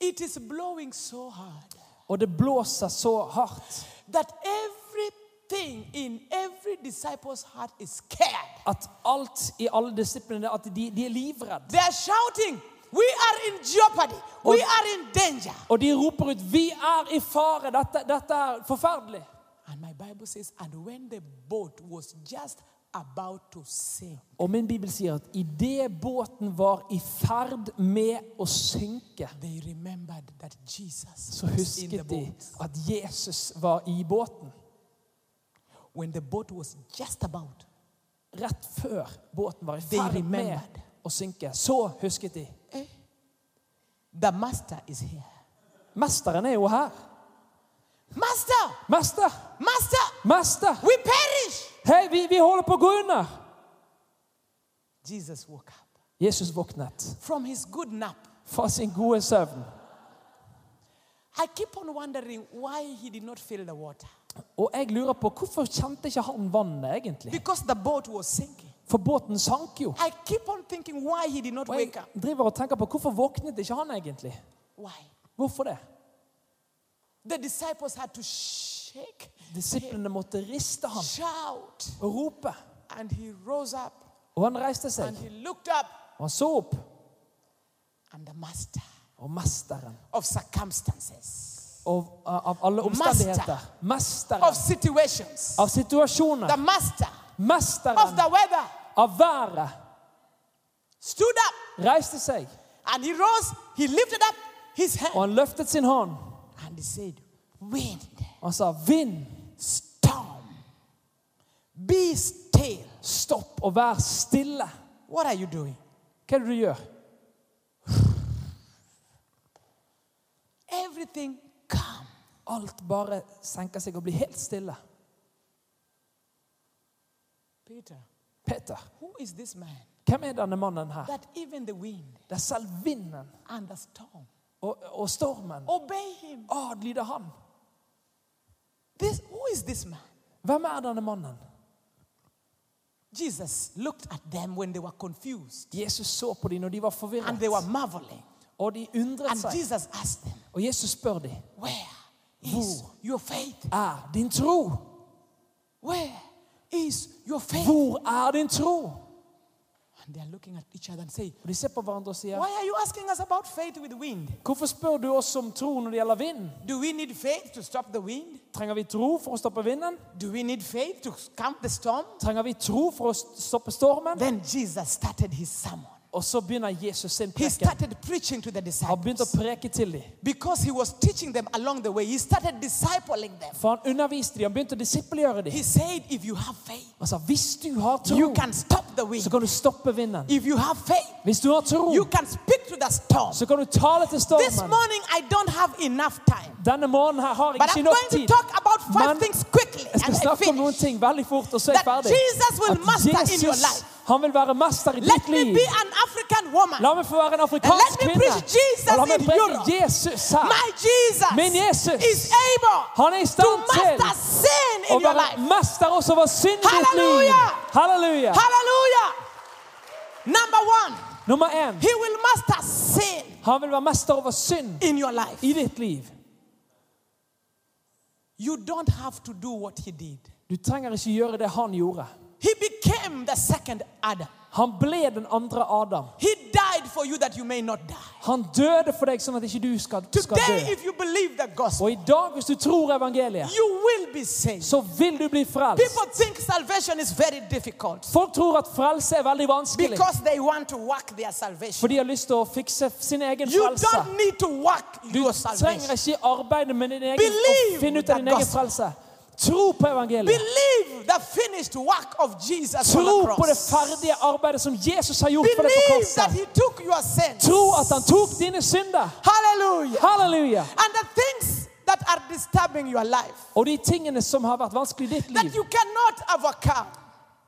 S1: it is blowing so hard
S2: Og det blåser så hardt
S1: that everything in every disciple's heart is scared.
S2: at alt i alle disiplene at de, de er livredd.
S1: They are shouting, "We are in jeopardy. We are in danger."
S2: Og de roper ut 'Vi er i fare! Dette, dette er forferdelig!'
S1: And my Bible says, "And when the boat was just about to sink,
S2: Og min bibel sier at idet båten var i ferd med å synke,
S1: they remembered that Jesus
S2: så
S1: was in the
S2: husket de
S1: boat.
S2: at Jesus var i båten.
S1: When the boat was just about,
S2: Rett før båten var i
S1: They
S2: ferd med
S1: remembered.
S2: å synke, så husket de.
S1: the master is here.
S2: Mesteren er jo her.
S1: Master,
S2: Mester!
S1: master,
S2: Mester!
S1: we perish.
S2: Hei, vi, vi holder på å gå under!
S1: Jesus woke up
S2: Jesus våknet
S1: from his good nap.
S2: fra sin gode søvn.
S1: I keep on wondering why he did not feel the water.
S2: Og jeg lurer på hvorfor kjente ikke han vannet, egentlig?
S1: Because the boat was sinking.
S2: For båten sank jo.
S1: I keep on thinking why he did not
S2: Og jeg
S1: wake up.
S2: driver og tenker på hvorfor våknet ikke han egentlig?
S1: Why?
S2: Hvorfor det?
S1: The disciples had to shake,
S2: Disiplene måtte riste han
S1: shout,
S2: og rope.
S1: and he rose up
S2: Og han reiste
S1: and
S2: seg,
S1: he looked up,
S2: og han så opp.
S1: and the master
S2: Og mesteren,
S1: of circumstances,
S2: og, eh, av alle omstendigheter,
S1: of
S2: mesteren
S1: situations,
S2: av situasjoner,
S1: the master of
S2: mesteren
S1: the weather
S2: av været,
S1: stood up
S2: reiste seg,
S1: and he rose, he lifted up his
S2: og
S1: hand
S2: han løftet sin hånd.
S1: and he said, Wind,
S2: Og han sa, vind,
S1: storm, be still.
S2: stopp og vær stille.
S1: What are you doing?
S2: Hva er det du gjør?
S1: Everything calm.
S2: Alt bare senker seg og blir helt stille.
S1: Peter,
S2: Peter,
S1: who is this man
S2: hvem er denne mannen her?
S1: that even the wind
S2: Det er selv vinden
S1: and the storm
S2: og, og stormen.
S1: obey him?
S2: Adlyder han.
S1: This, who is this man?
S2: Hvem er denne mannen?
S1: Jesus looked at them when they were confused
S2: Jesus så på dem når de var
S1: and they were
S2: forvirret,
S1: marveling.
S2: og de undret
S1: And
S2: seg.
S1: Jesus asked them,
S2: Og Jesus spør dem,
S1: Where is your faith?
S2: er din tro?
S1: Where is your faith?
S2: Hvor er din tro?
S1: And they are looking at each other and say,
S2: Og de ser på hverandre og sier,
S1: Why are you asking us about faith with wind?
S2: hvorfor spør du oss om tro når det gjelder vind?
S1: Do we need faith to stop the wind?
S2: Trenger vi tro for å stoppe vinden?
S1: Do we need faith to calm the storm?
S2: Trenger vi tro for å st- stoppe stormen?
S1: Then Jesus started his sermon.
S2: Og så begynner Jesus sin
S1: He
S2: preken.
S1: started preaching to the
S2: Han begynte å
S1: disciples
S2: preke til dem.
S1: because he was teaching them along the way. He started discipling them.
S2: For han underviste dem, han begynte å disiplegjøre dem.
S1: He said, If you have faith,
S2: Han sa hvis du har tro,
S1: you can stop the wind.
S2: så kan du stoppe vinden.
S1: If you have faith,
S2: Hvis du har tro,
S1: you can speak to the storm.
S2: så kan du tale til
S1: This
S2: stormen.
S1: morning, I don't have enough time.
S2: Denne morgenen her har jeg
S1: But
S2: ikke
S1: I'm
S2: nok
S1: going to
S2: tid.
S1: talk about five
S2: Man-
S1: things quickly
S2: Jeg skal
S1: and I
S2: snakke om noen
S1: finish.
S2: ting veldig fort, og så er jeg
S1: That
S2: ferdig.
S1: Jesus will master in your life.
S2: han vil være mester i
S1: Let
S2: ditt
S1: me
S2: liv.
S1: be an African woman.
S2: La meg få være en
S1: And
S2: afrikansk
S1: let me
S2: kvinne.
S1: preach Jesus
S2: Og la meg
S1: in
S2: preke
S1: Europe.
S2: Jesus her.
S1: My Jesus,
S2: Min ah. Jesus
S1: is able
S2: Han er i
S1: to
S2: stand til
S1: master sin
S2: å
S1: in your
S2: være
S1: life.
S2: mester også over synd i ditt liv.
S1: Halleluja!
S2: Halleluja!
S1: Hallelujah. Number one,
S2: Nummer én.
S1: he will master sin
S2: Han vil være mester over synd
S1: in your life.
S2: i ditt liv.
S1: You don't have to do what he did.
S2: Du trenger ikke gjøre det han gjorde.
S1: He became the second Adam.
S2: Han ble den andre Adam.
S1: He died for you that you may not die.
S2: Han døde for deg sånn at ikke du skal, skal
S1: Today,
S2: dø.
S1: if you believe the gospel,
S2: Og i dag, hvis du tror evangeliet,
S1: you will be saved.
S2: så vil du bli frelst.
S1: People think salvation is very difficult
S2: Folk tror at frelse er veldig vanskelig,
S1: because they want to work their salvation.
S2: for de har lyst til å fikse sin egen
S1: You
S2: frelse.
S1: don't need to work your
S2: Trenger
S1: salvation.
S2: ikke arbeide med din egen,
S1: Believe
S2: å finne ut av din
S1: the
S2: egen frelse. Tro på evangeliet.
S1: Believe the finished work of Jesus on
S2: Tro
S1: the
S2: på det
S1: cross.
S2: ferdige arbeidet som Jesus har gjort for deg på
S1: Believe that
S2: korset.
S1: He took your sins.
S2: Tro at han tok dine synder.
S1: Hallelujah.
S2: Halleluja!
S1: And the things that are disturbing your life
S2: Og de tingene som har vært vanskelig i ditt
S1: that
S2: liv,
S1: you cannot overcome.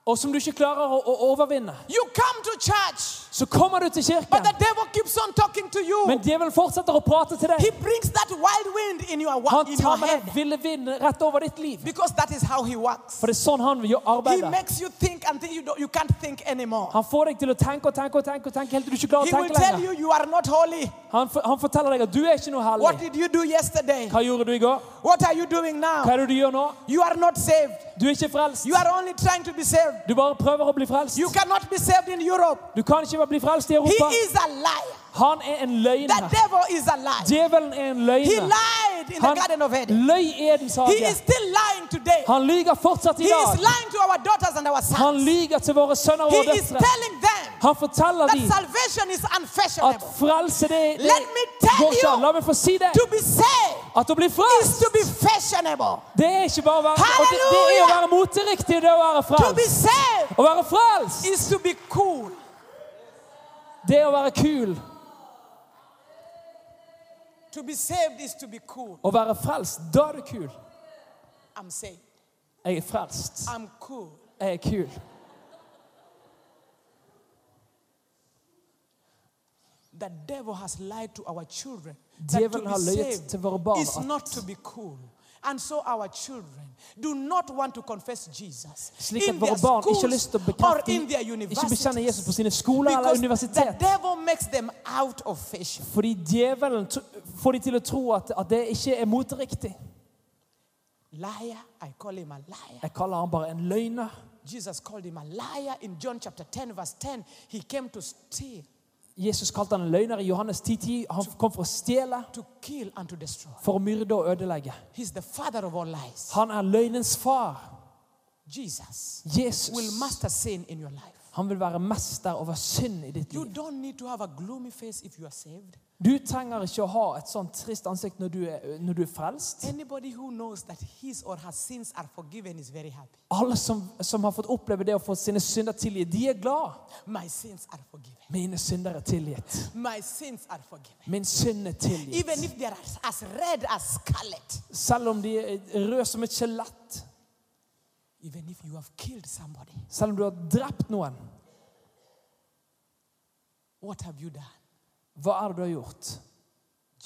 S2: og som du ikke klarer å, å overvinne,
S1: You come to church,
S2: så kommer du til
S1: but
S2: kirken.
S1: the devil keeps on talking to you.
S2: Men djevelen fortsetter å prate til
S1: He
S2: deg.
S1: brings that wild wind in your, wa-
S2: Han
S1: in your
S2: tar med
S1: head
S2: den ville vinden rett over ditt liv.
S1: because that is how he works.
S2: For det er sånn han vil gjøre
S1: He
S2: arbeidet.
S1: makes you think until you, don't, you can't think anymore.
S2: Han får deg til å tenke og tenke og tenke og tenke helt til du ikke klarer
S1: He
S2: å
S1: will
S2: tenke
S1: tell
S2: lenger.
S1: you you are not holy.
S2: Han, for, han forteller deg at du er ikke noe
S1: What
S2: hellig.
S1: did you do yesterday?
S2: Hva gjorde du i går?
S1: What are you doing
S2: Hva
S1: now?
S2: er det du gjør nå?
S1: You are not saved.
S2: Du er ikke frelst.
S1: You are only trying to be saved.
S2: Du bare prøver å bli
S1: You
S2: frelst.
S1: cannot be saved in Europe.
S2: Du kan ikke bare bli frelst i
S1: He
S2: Europa.
S1: is a liar.
S2: Han er en
S1: The
S2: løgner.
S1: devil is a liar.
S2: Djevelen er en
S1: He
S2: løgner.
S1: lied in the Garden of Eden.
S2: Han løy i Edens
S1: He is
S2: hage.
S1: still lying today.
S2: Han lyver fortsatt i
S1: He is
S2: dag.
S1: lying to our daughters and our
S2: Han
S1: sons.
S2: lyver til våre sønner og
S1: He
S2: våre
S1: is
S2: døtre.
S1: telling them
S2: Han forteller
S1: that
S2: dem
S1: salvation is
S2: at
S1: unfashionable.
S2: frelse det, det
S1: Let me tell
S2: går ikke an.
S1: you,
S2: La meg få si det.
S1: To be saved
S2: At å bli
S1: is
S2: frelst,
S1: to be fashionable.
S2: det er ikke bare å være og det, det er å være moteriktig, det er å være
S1: To be
S2: frelst.
S1: saved
S2: Å være frelst,
S1: is to be cool.
S2: det er å være kul.
S1: To be saved is to be cool.
S2: Å være frelst, da er du kul.
S1: I'm saved.
S2: Jeg er frelst.
S1: I'm cool.
S2: Jeg er kul.
S1: The devil has lied to our children. That to
S2: Djevelen har
S1: be
S2: løyet
S1: saved
S2: til våre barn
S1: is
S2: at-
S1: not to be cool. And so our children do not want to confess Jesus
S2: Slik at
S1: in their
S2: våre barn ikke har
S1: schools
S2: lyst til å
S1: or
S2: bekrefte,
S1: in their
S2: ikke bekjenne
S1: universities.
S2: Jesus på sine skoler eller
S1: Because the
S2: universitet.
S1: devil makes them out of fashion.
S2: Fordi djevelen tr- får de til å tro at, at det ikke er moteriktig.
S1: Liar, I call him a liar.
S2: Jeg kaller han bare en løgner.
S1: Jesus called him a liar in John chapter 10, verse 10. He came to steal,
S2: Jesus kalte han en løgner i Johannes 10.10. Han kom for å stjele,
S1: to kill, and to destroy.
S2: for å myrde og ødelegge.
S1: He's the father of all lies.
S2: Han er løgnens far.
S1: Jesus will
S2: Jesus.
S1: master sin in your life.
S2: Han vil være mester over synd i ditt
S1: You
S2: liv.
S1: don't need to have a gloomy face if you are saved.
S2: Du trenger ikke å ha et sånt trist ansikt når du er, når du er frelst.
S1: Anybody who knows that his or her sins are forgiven is very happy.
S2: Alle som, som har fått oppleve det å få sine synder tilgitt, de er glad.
S1: My sins are forgiven.
S2: Mine synder er tilgitt.
S1: My sins are forgiven.
S2: Min synd er tilgitt.
S1: Even if they are as- as red as scarlet,
S2: Selv om de er røde som et skjelett.
S1: even if you have killed somebody,
S2: Selv om du har drept noen.
S1: what have you done?
S2: Hva er det du har gjort?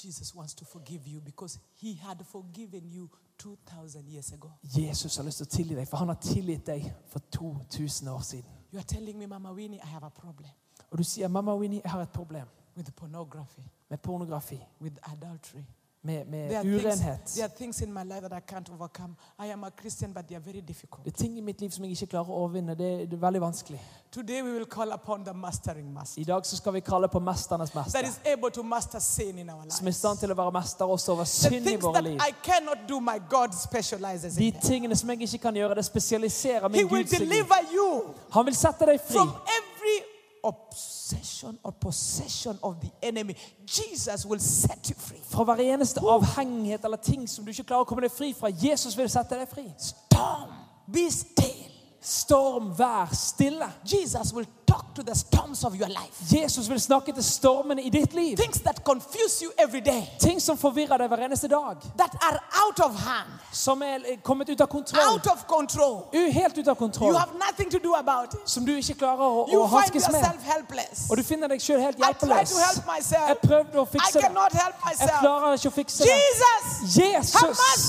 S1: Jesus wants to forgive you because he had forgiven you 2,000 years ago.
S2: Jesus har lyst til å tilgi deg, for han har tilgitt deg for 2000 år siden.
S1: You are telling me, Mama Winnie, I have a problem
S2: Og du sier, 'Mamma Winnie, jeg har et problem
S1: with pornography,
S2: med pornografi,
S1: with adultery.
S2: med,
S1: There are,
S2: med
S1: things,
S2: urenhet.'
S1: there are things in my life that I can't overcome. I am a Christian, but they are very difficult.
S2: Det er ting i mitt liv som jeg ikke klarer å overvinne. Det er, det er veldig vanskelig.
S1: Today we will call upon the mastering master
S2: I dag så skal vi kalle på Mesternes
S1: that
S2: mester,
S1: is able to master sin in our
S2: som er i
S1: lives.
S2: stand til å være mester også over
S1: The
S2: synd i
S1: things
S2: våre
S1: that
S2: liv.
S1: I cannot do, my God specializes
S2: De
S1: in. Them.
S2: tingene som jeg ikke kan gjøre, det spesialiserer
S1: He
S2: min
S1: will
S2: Gud seg i.
S1: deliver you
S2: Han vil sette deg fri.
S1: from every obsession or possession of the enemy. Jesus will set you free.
S2: Fra hver eneste avhengighet eller ting som du ikke klarer å komme deg fri fra. Jesus vil sette deg fri.
S1: Storm, be still.
S2: Storm, vær stille.
S1: Jesus will talk to the storms of your life.
S2: Jesus vil snakke til stormene i ditt liv.
S1: Things that confuse you every day,
S2: Ting som forvirrer deg hver eneste dag.
S1: that are out of hand,
S2: Som er eh, kommet ut av kontroll.
S1: out of control.
S2: U- Helt ut av kontroll.
S1: You have nothing to do about it.
S2: Som du ikke klarer å, å
S1: You find
S2: hanskes med.
S1: yourself helpless.
S2: Og du finner deg sjøl helt
S1: I tried
S2: hjelpeløs.
S1: to help myself.
S2: Jeg prøvde å
S1: I
S2: fikse det.
S1: cannot help
S2: Jeg
S1: myself.
S2: klarer ikke å fikse det.
S1: Jesus, Have mercy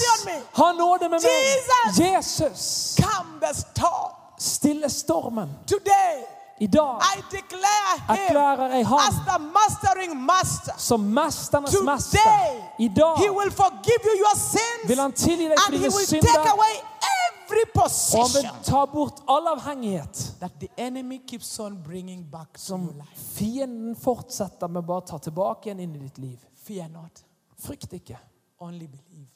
S2: Jesus,
S1: on me.
S2: ha nåde med meg.
S1: Jesus.
S2: Jesus,
S1: come the storm.
S2: stille stormen.
S1: Today,
S2: I dag
S1: I declare him
S2: erklærer jeg
S1: as
S2: Han
S1: the mastering master.
S2: som mesternes mester.
S1: Today,
S2: I dag
S1: he will forgive you your sins
S2: vil Han tilgi deg for
S1: and he
S2: dine
S1: will take
S2: synder,
S1: away every
S2: og Han vil
S1: possession
S2: ta bort all avhengighet.
S1: that the enemy keeps on bringing back to
S2: Som
S1: your life.
S2: fienden fortsetter med bare å ta tilbake igjen inn i ditt liv.
S1: Fear not,
S2: Frykt ikke,
S1: only believe.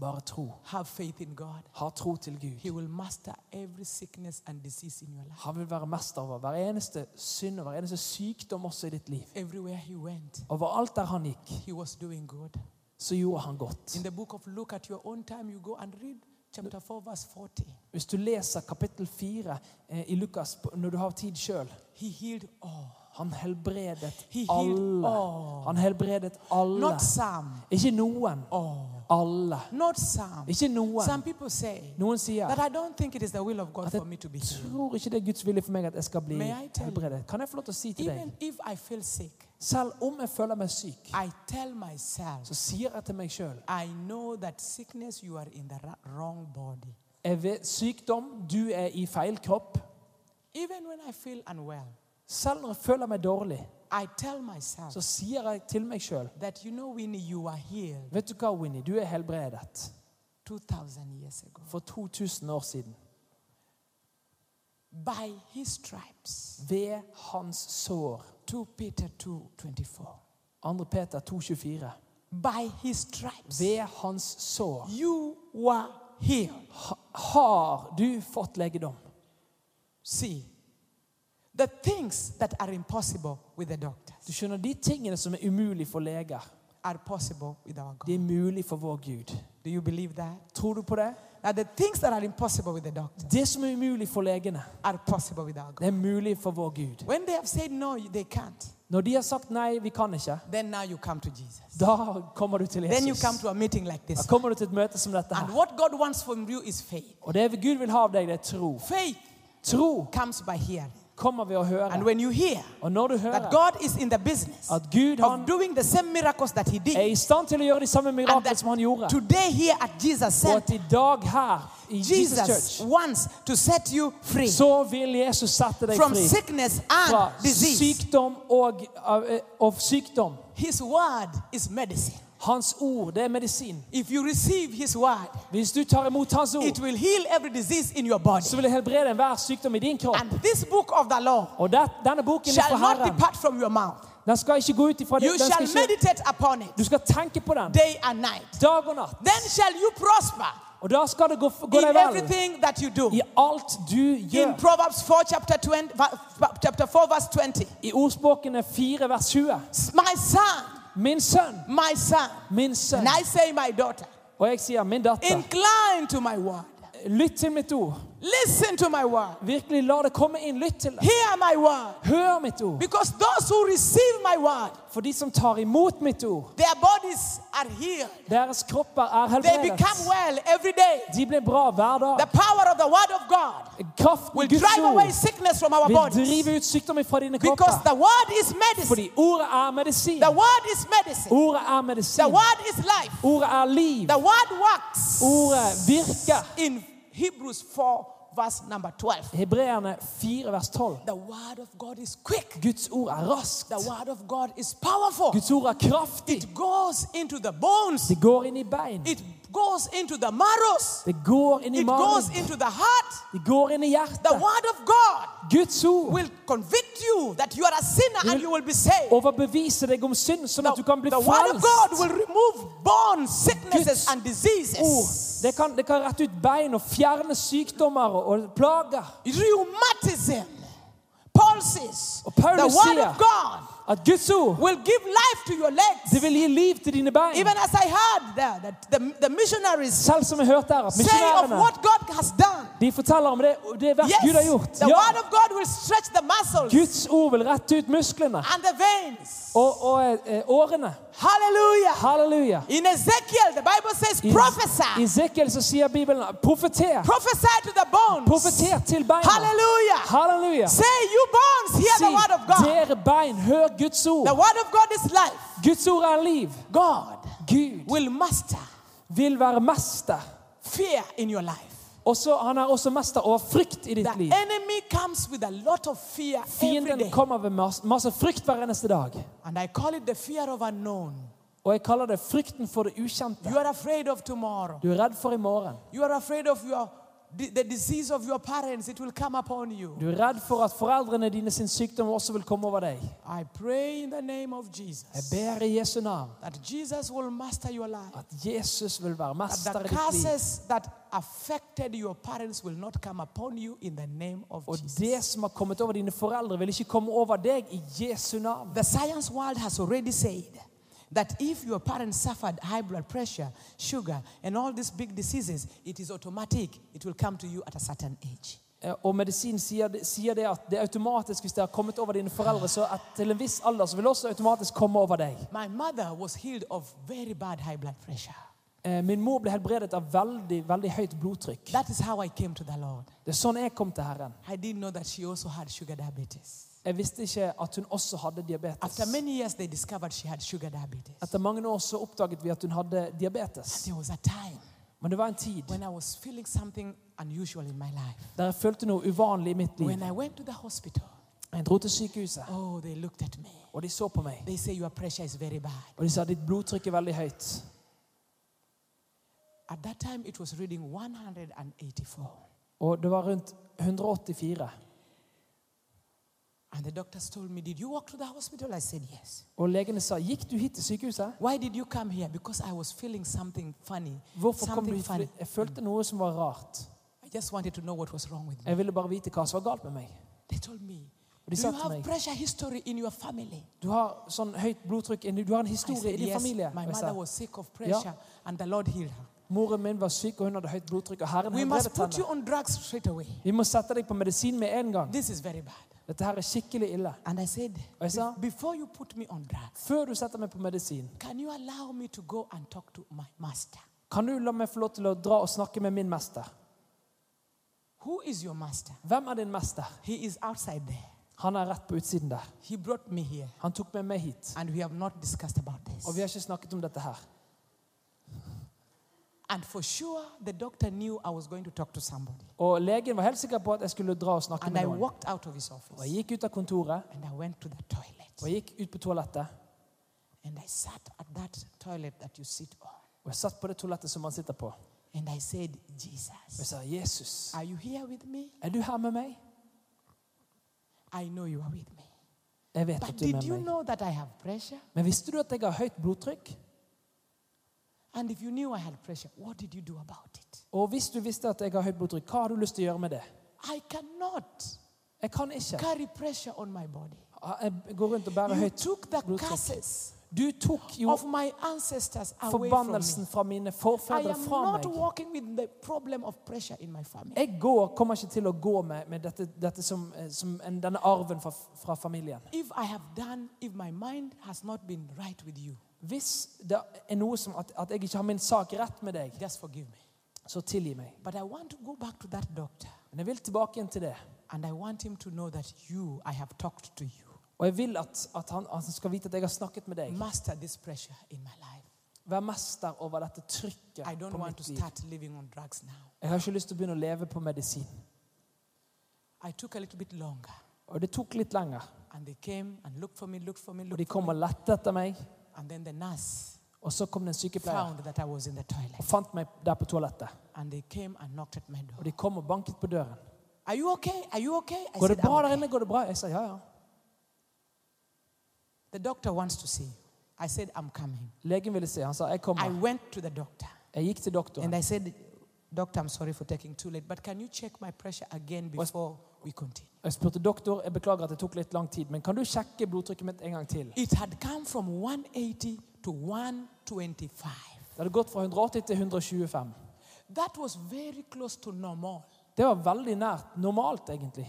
S2: bare tro.
S1: Have faith in God.
S2: Ha tro til Gud.
S1: He will master every sickness and disease in your life.
S2: Han vil være mester over hver eneste synd og hver eneste sykdom også i ditt liv.
S1: Everywhere he went,
S2: Overalt der han gikk,
S1: he was doing good.
S2: så gjorde han godt.
S1: In the book of Luke, at your own time, you go and read chapter 4, verse 40.
S2: Hvis du leser kapittel 4 eh, i Lukas på- når du har tid sjøl
S1: He healed all,
S2: Han helbredet
S1: He healed
S2: alle.
S1: all.
S2: Han helbredet alle.
S1: not some.
S2: Ikke noen.
S1: All,
S2: Alle.
S1: not some.
S2: Ikke
S1: Some
S2: noen.
S1: people say
S2: Noen sier
S1: that I don't think it is the will of God
S2: At the
S1: for me to be healed.
S2: tror ikke det er Guds vilje for meg at jeg skal bli
S1: May I tell you?
S2: helbredet. Kan jeg få lov til å si til deg
S1: Even if I feel sick,
S2: Selv om jeg føler meg syk,
S1: I tell myself,
S2: så sier jeg til meg sjøl
S1: I know that sickness, you are in the ra- wrong body.
S2: Sykdom, du er i feil kropp.
S1: Even when I feel unwell,
S2: Selv når jeg føler meg dårlig,
S1: I tell myself
S2: så sier jeg til meg sjøl
S1: that, you know, Winnie, you are healed
S2: Vet du hva, Winnie? Du er helbredet.
S1: 2,000 years ago.
S2: For 2000 år siden.
S1: By his stripes,
S2: Ved hans sår.
S1: 2 Peter 2:24.
S2: 2. Peter 2,24.
S1: By his stripes,
S2: Ved hans sår
S1: you were healed.
S2: ha- har du fått legedom.
S1: See, the things that are impossible with the
S2: Du
S1: doctors
S2: skjønner, de tingene som er umulig for leger,
S1: are possible with our God.
S2: de er mulig for vår Gud.
S1: Do you believe that?
S2: Tror du på det?
S1: Now, the things that are impossible with the doctor
S2: Det som er umulig for legene,
S1: are possible with our God.
S2: det er mulig for vår Gud.
S1: When they have said no, you- they can't,
S2: Når de har sagt nei, vi kan ikke,
S1: then now you come to Jesus.
S2: da kommer du til
S1: Then you
S2: Jesus.
S1: come to a meeting like
S2: Da
S1: this.
S2: kommer du til et møte som dette
S1: And
S2: her.
S1: what God wants from you is faith.
S2: Og det Gud vil ha av deg, det er tro.
S1: Faith
S2: Tro
S1: comes by hearing.
S2: kommer ved å høre.
S1: And when you hear
S2: Og når du hører
S1: that God is in the business
S2: at Gud
S1: of
S2: han
S1: doing the same miracles that He
S2: er
S1: did,
S2: i stand til å gjøre de samme
S1: and
S2: miraklene som han
S1: that
S2: gjorde,
S1: today here at Jesus'
S2: og
S1: said,
S2: at i dag her i Jesus
S1: Jesus
S2: Church
S1: wants to set you free
S2: så vil Jesus sette deg
S1: from
S2: fri
S1: sickness
S2: fra
S1: and disease.
S2: sykdom og, av- eh, og sykdom.
S1: His word is medicine.
S2: Hans ord, det er medisin.
S1: If you receive His word,
S2: Hvis du tar imot Hans
S1: it
S2: ord,
S1: will heal every disease in your body.
S2: så vil det helbrede enhver sykdom i din kropp.
S1: And this book of the law
S2: Og det, denne boken er
S1: shall
S2: fra
S1: not
S2: Herren.
S1: depart from your mouth.
S2: Den skal ikke gå ut ifra deg.
S1: You
S2: Den
S1: shall
S2: skal ikke,
S1: meditate upon it
S2: du skal tenke på den
S1: day and night.
S2: dag og natt.
S1: Then shall you prosper
S2: Og da skal det gå, gå
S1: in
S2: deg vel
S1: everything that you do.
S2: i alt du
S1: In
S2: gjør.
S1: Proverbs 4, chapter, 20, va- chapter 4, verse 20.
S2: I ordspråkene 4 vers 20.
S1: My son,
S2: Min sønn,
S1: my son,
S2: min sønn.
S1: and I say, my daughter,
S2: Og jeg sier, min datter,
S1: incline to my word.
S2: lytt til mitt ord.
S1: Listen to my word.
S2: Virkelig, la det komme inn. Lytt til det.
S1: Hear my word.
S2: Hør mitt ord.
S1: Because those who receive my word,
S2: For de som tar imot mitt ord,
S1: their bodies are healed.
S2: deres kropper er
S1: They
S2: helbredet.
S1: become well every day.
S2: De blir bra hver
S1: The
S2: dag.
S1: power of the word of God
S2: Kraften
S1: will
S2: i Guds
S1: drive away
S2: ord
S1: sickness from our
S2: vil
S1: bodies.
S2: drive ut sykdom fra dine
S1: Because
S2: kropper.
S1: the word is medicine.
S2: Fordi ordet er medisin.
S1: The word is medicine.
S2: Ordet er
S1: The
S2: medisin.
S1: word is life.
S2: Ordet er liv.
S1: The word works.
S2: Ordet virker.
S1: In Hebrews 4, verse number 12.
S2: Hebreerne 4 vers 12.
S1: The word of God is quick.
S2: Guds ord er raskt.
S1: The word of God is powerful.
S2: Guds ord er kraftig.
S1: It goes into the bones.
S2: Det går inn i bein.
S1: It goes into the marrows.
S2: Det går inn i
S1: It goes
S2: magen.
S1: into the heart.
S2: Det går inn i
S1: The
S2: hjertet.
S1: word of God
S2: Guds ord
S1: will convict you that you are a sinner and you will be saved.
S2: overbeviser deg om synd, sånn at du kan bli
S1: the word of God
S2: frelst.
S1: will remove bone sicknesses
S2: Guds
S1: and diseases.
S2: Ord. Oh, Det kan, det kan rette ut bein og fjerne sykdommer og, og plager.
S1: Rheumatism, pulses.
S2: Og Paulus
S1: the word
S2: sier
S1: of God
S2: At Guds ord
S1: will give life to your
S2: det
S1: legs.
S2: vil gi liv til dine bein.
S1: Even as I heard there that the, the missionaries
S2: Selv som jeg hørte her, at
S1: say of
S2: misjonærene
S1: what God has done.
S2: de forteller om det, det verk
S1: Yes,
S2: Gud har gjort.
S1: the
S2: Ja,
S1: word of God will stretch the muscles
S2: Guds ord vil rette ut musklene
S1: and the veins.
S2: og, og eh, årene.
S1: Hallelujah.
S2: Halleluja.
S1: In Ezekiel, the Bible says,
S2: I i
S1: prophesy.
S2: Esekiel så sier Bibelen profeter.
S1: Prophesy to the bones.
S2: Profeter til beina.
S1: Hallelujah.
S2: Halleluja.
S1: Say, you bones, hear
S2: Si,
S1: the word of God.
S2: dere bein, hør Guds ord.
S1: The word of God is life.
S2: Guds ord er liv.
S1: God
S2: Gud
S1: will master
S2: vil være mester.
S1: fear in your life.
S2: Også, han er også mester over frykt
S1: The
S2: i ditt liv.
S1: enemy comes with a lot of fear every
S2: Fienden
S1: day.
S2: kommer med mas- masse frykt hver eneste dag.
S1: And I call it the fear of unknown.
S2: Og jeg kaller det frykten for det ukjente.
S1: You are afraid of tomorrow.
S2: Du er redd for i morgen.
S1: You are afraid of your the, the disease of your parents. It will come upon you.
S2: Du er redd for at foreldrene dine sin sykdom også vil komme over deg.
S1: I pray in the name of
S2: Jeg
S1: Jesus
S2: ber i Jesu navn
S1: that Jesus will master your life.
S2: at Jesus vil være
S1: That
S2: mester
S1: the
S2: i ditt liv.
S1: curses that affected your parents will not come upon you in the name of
S2: Og
S1: Jesus.
S2: det som har kommet over dine foreldre, vil ikke komme over deg i Jesu navn.
S1: The science world has already said that if your parents suffered high blood pressure, sugar, and all these big diseases, it is automatic. It will come to you at a certain age.
S2: Eh, Og medisin sier, det- sier det at det er automatisk hvis det har kommet over dine foreldre, så at til en viss alder så vil det også automatisk komme over deg.
S1: My mother was healed of very bad high blood pressure.
S2: Eh, Min mor ble helbredet av veldig, veldig høyt blodtrykk.
S1: That is how I came to the Lord.
S2: Det er sånn jeg kom til Herren.
S1: I didn't know that she also had sugar diabetes.
S2: Jeg visste ikke at hun også hadde diabetes.
S1: After many years, they discovered she had sugar diabetes.
S2: Etter mange år så oppdaget vi at hun hadde diabetes.
S1: There was a time
S2: Men det var en tid
S1: when I was feeling something unusual in my life.
S2: der jeg følte noe uvanlig i mitt
S1: When
S2: liv.
S1: I went to the hospital,
S2: Jeg dro til sykehuset,
S1: oh, they looked at me.
S2: og de så på meg.
S1: They say, Your pressure is very bad.
S2: Og de sa ditt blodtrykk er veldig høyt.
S1: At that time, it was reading 184.
S2: Og det var rundt 184.
S1: And the doctors told me, Did you walk to the hospital? I said, Yes.
S2: Og legene sa gikk du hit til sykehuset?
S1: Why did you come here? Because I was feeling something funny.
S2: Hvorfor kom du
S1: Something
S2: hit? Fordi
S1: funny.
S2: Jeg følte noe som var rart.
S1: I just wanted to know what was wrong with me.
S2: Jeg ville bare vite hva som var galt med meg.
S1: They told me,
S2: What
S1: Do
S2: is
S1: you
S2: that to
S1: have
S2: make?
S1: pressure history in your family?
S2: Du har sånn høyt blodtrykk. Du har en
S1: I
S2: historie
S1: said,
S2: i din
S1: yes,
S2: familie.
S1: my
S2: Og jeg
S1: mother
S2: sa,
S1: was sick of pressure and the Lord healed her.
S2: Moren min var syk, og hun hadde høyt blodtrykk. Og Herren
S1: We must
S2: helbredet
S1: put you
S2: henne.
S1: on drugs straight away.
S2: Vi må sette deg på medisin med en gang.
S1: This is very bad.
S2: Dette her er skikkelig ille.
S1: And I said,
S2: I saw-
S1: "Be- Before you put me on drugs,
S2: Før du setter meg på medisin,
S1: can you allow me to go and talk to my master?
S2: kan du la meg få lov til å dra og snakke med min mester?
S1: Who is your master?
S2: Hvem er din mester?
S1: He is outside there.
S2: Han er rett på utsiden der.
S1: He brought me here,
S2: Han tok med meg hit.
S1: and we have not discussed about
S2: Og vi
S1: this.
S2: har ikke snakket om dette her.
S1: And for sure, the doctor knew I was going to talk to somebody.
S2: Og legen var helt sikker på at jeg skulle dra og snakke
S1: And I
S2: med noen.
S1: walked out of his
S2: Og jeg
S1: office
S2: gikk ut av kontoret,
S1: and I went to the
S2: og
S1: toilet.
S2: jeg gikk ut på toalettet.
S1: And I sat at that toilet that you sit on.
S2: Og jeg satt på det toalettet som han sitter på. Og
S1: And I said,
S2: jeg
S1: Jesus,
S2: sa, Jesus,
S1: are you here with me?
S2: er du her med meg?
S1: I know you are with me.
S2: Jeg vet
S1: But
S2: at du er
S1: did
S2: med
S1: you
S2: meg.
S1: know that I have pressure?
S2: Men visste du at jeg har høyt blodtrykk?
S1: And if you knew I had pressure, what did you do about it?
S2: Og hvis du visste at jeg har høyt blodtrykk, hva har du lyst til å gjøre med det?
S1: I cannot
S2: Jeg kan ikke.
S1: carry pressure on my body.
S2: Jeg går rundt og bærer
S1: You
S2: høyt
S1: took the
S2: blodtrykk.
S1: curses
S2: Du tok jo
S1: of my ancestors away from me.
S2: forbannelsen fra mine
S1: I
S2: forfedre
S1: am
S2: fra
S1: not
S2: meg.
S1: walking with the problem of pressure in my family.
S2: Jeg går, kommer ikke til å gå med, med dette, dette som, eh, som en, denne arven fra, fra familien.
S1: If I have done, if my mind has not been right with you,
S2: Hvis det er noe som at, at jeg ikke har min sak rett med deg,
S1: just forgive me.
S2: så tilgi meg.
S1: But I want to go back to that doctor
S2: Men jeg vil tilbake igjen til det.
S1: and I want him to know that you, I have talked to you.
S2: Og jeg vil at, at han, han skal vite at jeg har snakket med deg.
S1: Master this pressure in my life.
S2: Vær mester over dette trykket
S1: I don't
S2: på
S1: want to
S2: mitt liv.
S1: start living on drugs now.
S2: Jeg har ikke lyst til å begynne å leve på medisin.
S1: I took a little bit longer.
S2: Og det tok litt lenger.
S1: And they came and looked for me, looked for me,
S2: Og
S1: looked
S2: de
S1: for
S2: kom
S1: me.
S2: og lette etter meg.
S1: And then the nurse
S2: Og så kom det en sykepleier
S1: found that I was in the
S2: og
S1: toilet.
S2: fant meg der på toalettet.
S1: And they came and knocked at my
S2: Og
S1: door.
S2: de kom og banket på døren.
S1: Are you okay? Are you okay? I
S2: Går det
S1: said,
S2: bra
S1: "I'm
S2: der
S1: okay."
S2: inne? Går det bra? Jeg sa ja, ja.
S1: The doctor wants to see you. I said, I'm coming.
S2: Legen ville se. Han sa jeg
S1: I
S2: kommer.
S1: went to the doctor
S2: Jeg gikk til
S1: and
S2: doktoren.
S1: I said, Doctor, I'm sorry for taking too late, but can you check my pressure again before we continue?
S2: Jeg spurte doktor, jeg beklager at det tok litt lang tid, men kan du sjekke blodtrykket mitt en gang til?
S1: It had come from 180 to 125.
S2: Det hadde gått fra 180 til 125.
S1: That was very close to normal.
S2: Det var veldig nært normalt, egentlig.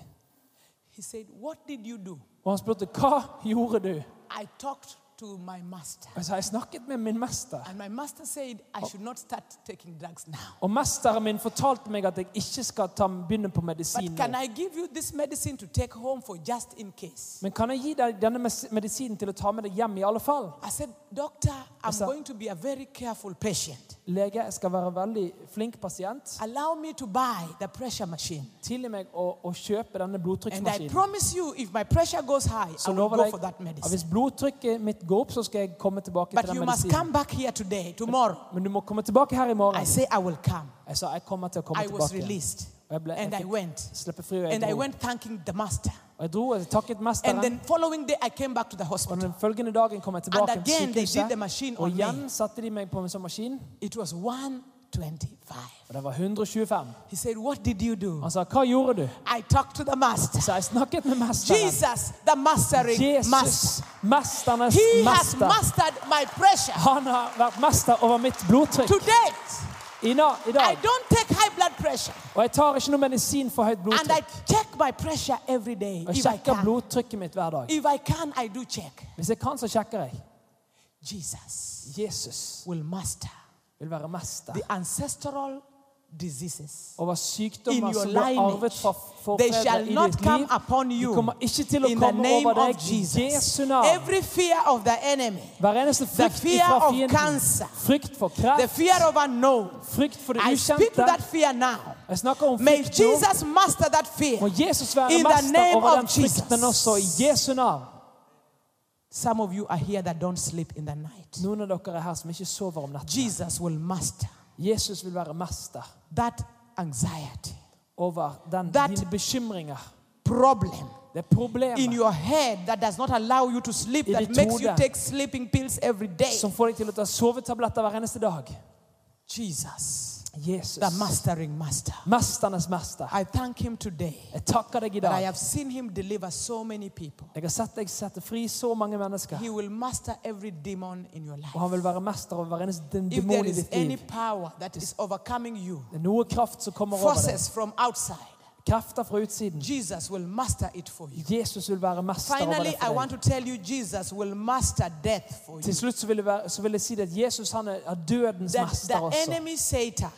S1: He said, What did you do?
S2: Og han spurte hva gjorde du?
S1: I talked to my master.
S2: Og jeg sa jeg snakket med min mester.
S1: And my master said, I should not start taking drugs now.
S2: Og mesteren min fortalte meg at jeg ikke skal ta, begynne på medisin
S1: But can
S2: nå.
S1: I give you this medicine to take home for just in case?
S2: Men kan jeg gi deg denne mes- medisinen til å ta med deg hjem i alle fall?
S1: I said, Doctor, I'm
S2: sir.
S1: going to be a very careful patient.
S2: Lege, jeg skal være veldig flink pasient.
S1: Allow me to buy the pressure machine.
S2: Tilgi meg å, å kjøpe
S1: And
S2: denne
S1: I
S2: blodtrykksmaskinen.
S1: promise you, if my pressure goes high, I
S2: Så
S1: will
S2: lover
S1: go
S2: jeg
S1: for that
S2: at
S1: medicine.
S2: hvis blodtrykket mitt går opp, så skal jeg komme tilbake til
S1: But
S2: den
S1: you must
S2: medisinen.
S1: come back here today, tomorrow.
S2: Men du må komme tilbake her i
S1: I
S2: morgen.
S1: say, I will come.
S2: Jeg sa jeg kommer til å komme
S1: I was
S2: tilbake. igjen.
S1: released.
S2: Og jeg ble
S1: And I
S2: jeg
S1: went.
S2: fikk slippe fri, og jeg
S1: And I
S2: dro.
S1: went thanking the master.
S2: Og jeg dro og jeg takket
S1: And
S2: mesteren.
S1: then following day, I came back to the
S2: Og
S1: hospital.
S2: den følgende dagen kom jeg tilbake
S1: And
S2: til
S1: again they did the machine
S2: sykehuset. Og
S1: on me.
S2: igjen satte de meg på en sånn maskin.
S1: It was 125.
S2: Og det var 125.
S1: He said, What did you do?
S2: Han sa, hva gjorde du?
S1: I talked to the master.
S2: Så jeg snakket med mesteren.
S1: Jesus, the mastering master.
S2: Jesus, mesternes
S1: He has
S2: mester.
S1: mastered my pressure.
S2: Han har vært mester over mitt blodtrykk
S1: To date,
S2: i, na- i
S1: I
S2: dag.
S1: don't take high blood pressure.
S2: Og jeg tar ikke noe medisin for høyt
S1: And I
S2: blodtrykk.
S1: check my pressure every day.
S2: Og
S1: If
S2: jeg
S1: I
S2: sjekker
S1: can,
S2: blodtrykket mitt hver dag.
S1: if I can, I do check.
S2: Hvis jeg kan, så sjekker jeg.
S1: Jesus
S2: Jesus
S1: will master
S2: vil være mester
S1: the ancestral diseases.
S2: over
S1: In
S2: sykdommer
S1: your
S2: som ble arvet
S1: lineage,
S2: fra
S1: they
S2: forfedre
S1: shall
S2: i
S1: not
S2: ditt
S1: come
S2: liv.
S1: upon
S2: De
S1: you
S2: kommer ikke til å
S1: in the
S2: komme
S1: name
S2: over
S1: of
S2: deg i
S1: Jesus.
S2: Jesu navn.
S1: Every fear of the enemy,
S2: Hver eneste frykt
S1: fear
S2: fra
S1: of
S2: fienden,
S1: cancer.
S2: frykt for
S1: the
S2: kreft,
S1: fear of unknown,
S2: frykt for det
S1: I speak to
S2: ukjente
S1: that fear now.
S2: Jeg snakker om
S1: May
S2: frykt nå.
S1: Jesus master that fear.
S2: Må Jesus være
S1: in the
S2: mester
S1: name
S2: over
S1: of
S2: den frykten
S1: Jesus.
S2: også i Jesu navn.
S1: Some of you are here that don't sleep in the night.
S2: Noen av dere er her som ikke sover om natten.
S1: Jesus will master
S2: Jesus vil være mester
S1: that anxiety,
S2: over den,
S1: That-
S2: dine bekymringer.
S1: problem
S2: Det er problemet
S1: in your head that does not allow you to sleep,
S2: I
S1: that
S2: ditt
S1: makes you
S2: hode.
S1: take sleeping pills every day.
S2: som får deg til å ta sovetabletter hver eneste dag.
S1: Jesus,
S2: Jesus.
S1: the mastering master.
S2: Mesternes mester.
S1: I thank him today
S2: Jeg takker deg i
S1: that I
S2: dag.
S1: have seen him deliver so many people.
S2: Jeg har sett deg sette fri så mange mennesker.
S1: He will master every demon in your
S2: Og han
S1: life.
S2: vil være mester over hver eneste
S1: If
S2: den
S1: there
S2: demon i
S1: is
S2: ditt
S1: any
S2: liv.
S1: power that is overcoming you,
S2: Det er noe kraft som kommer over deg.
S1: forces from outside,
S2: Krefter fra utsiden.
S1: Jesus will master it for you.
S2: Jesus vil være mester over
S1: Finally,
S2: det
S1: I
S2: for deg.
S1: want to tell you Jesus will master death for you.
S2: Til slutt så vil, jeg være, så vil jeg si det at Jesus han er er dødens
S1: That
S2: mester
S1: the
S2: også.
S1: enemy Satan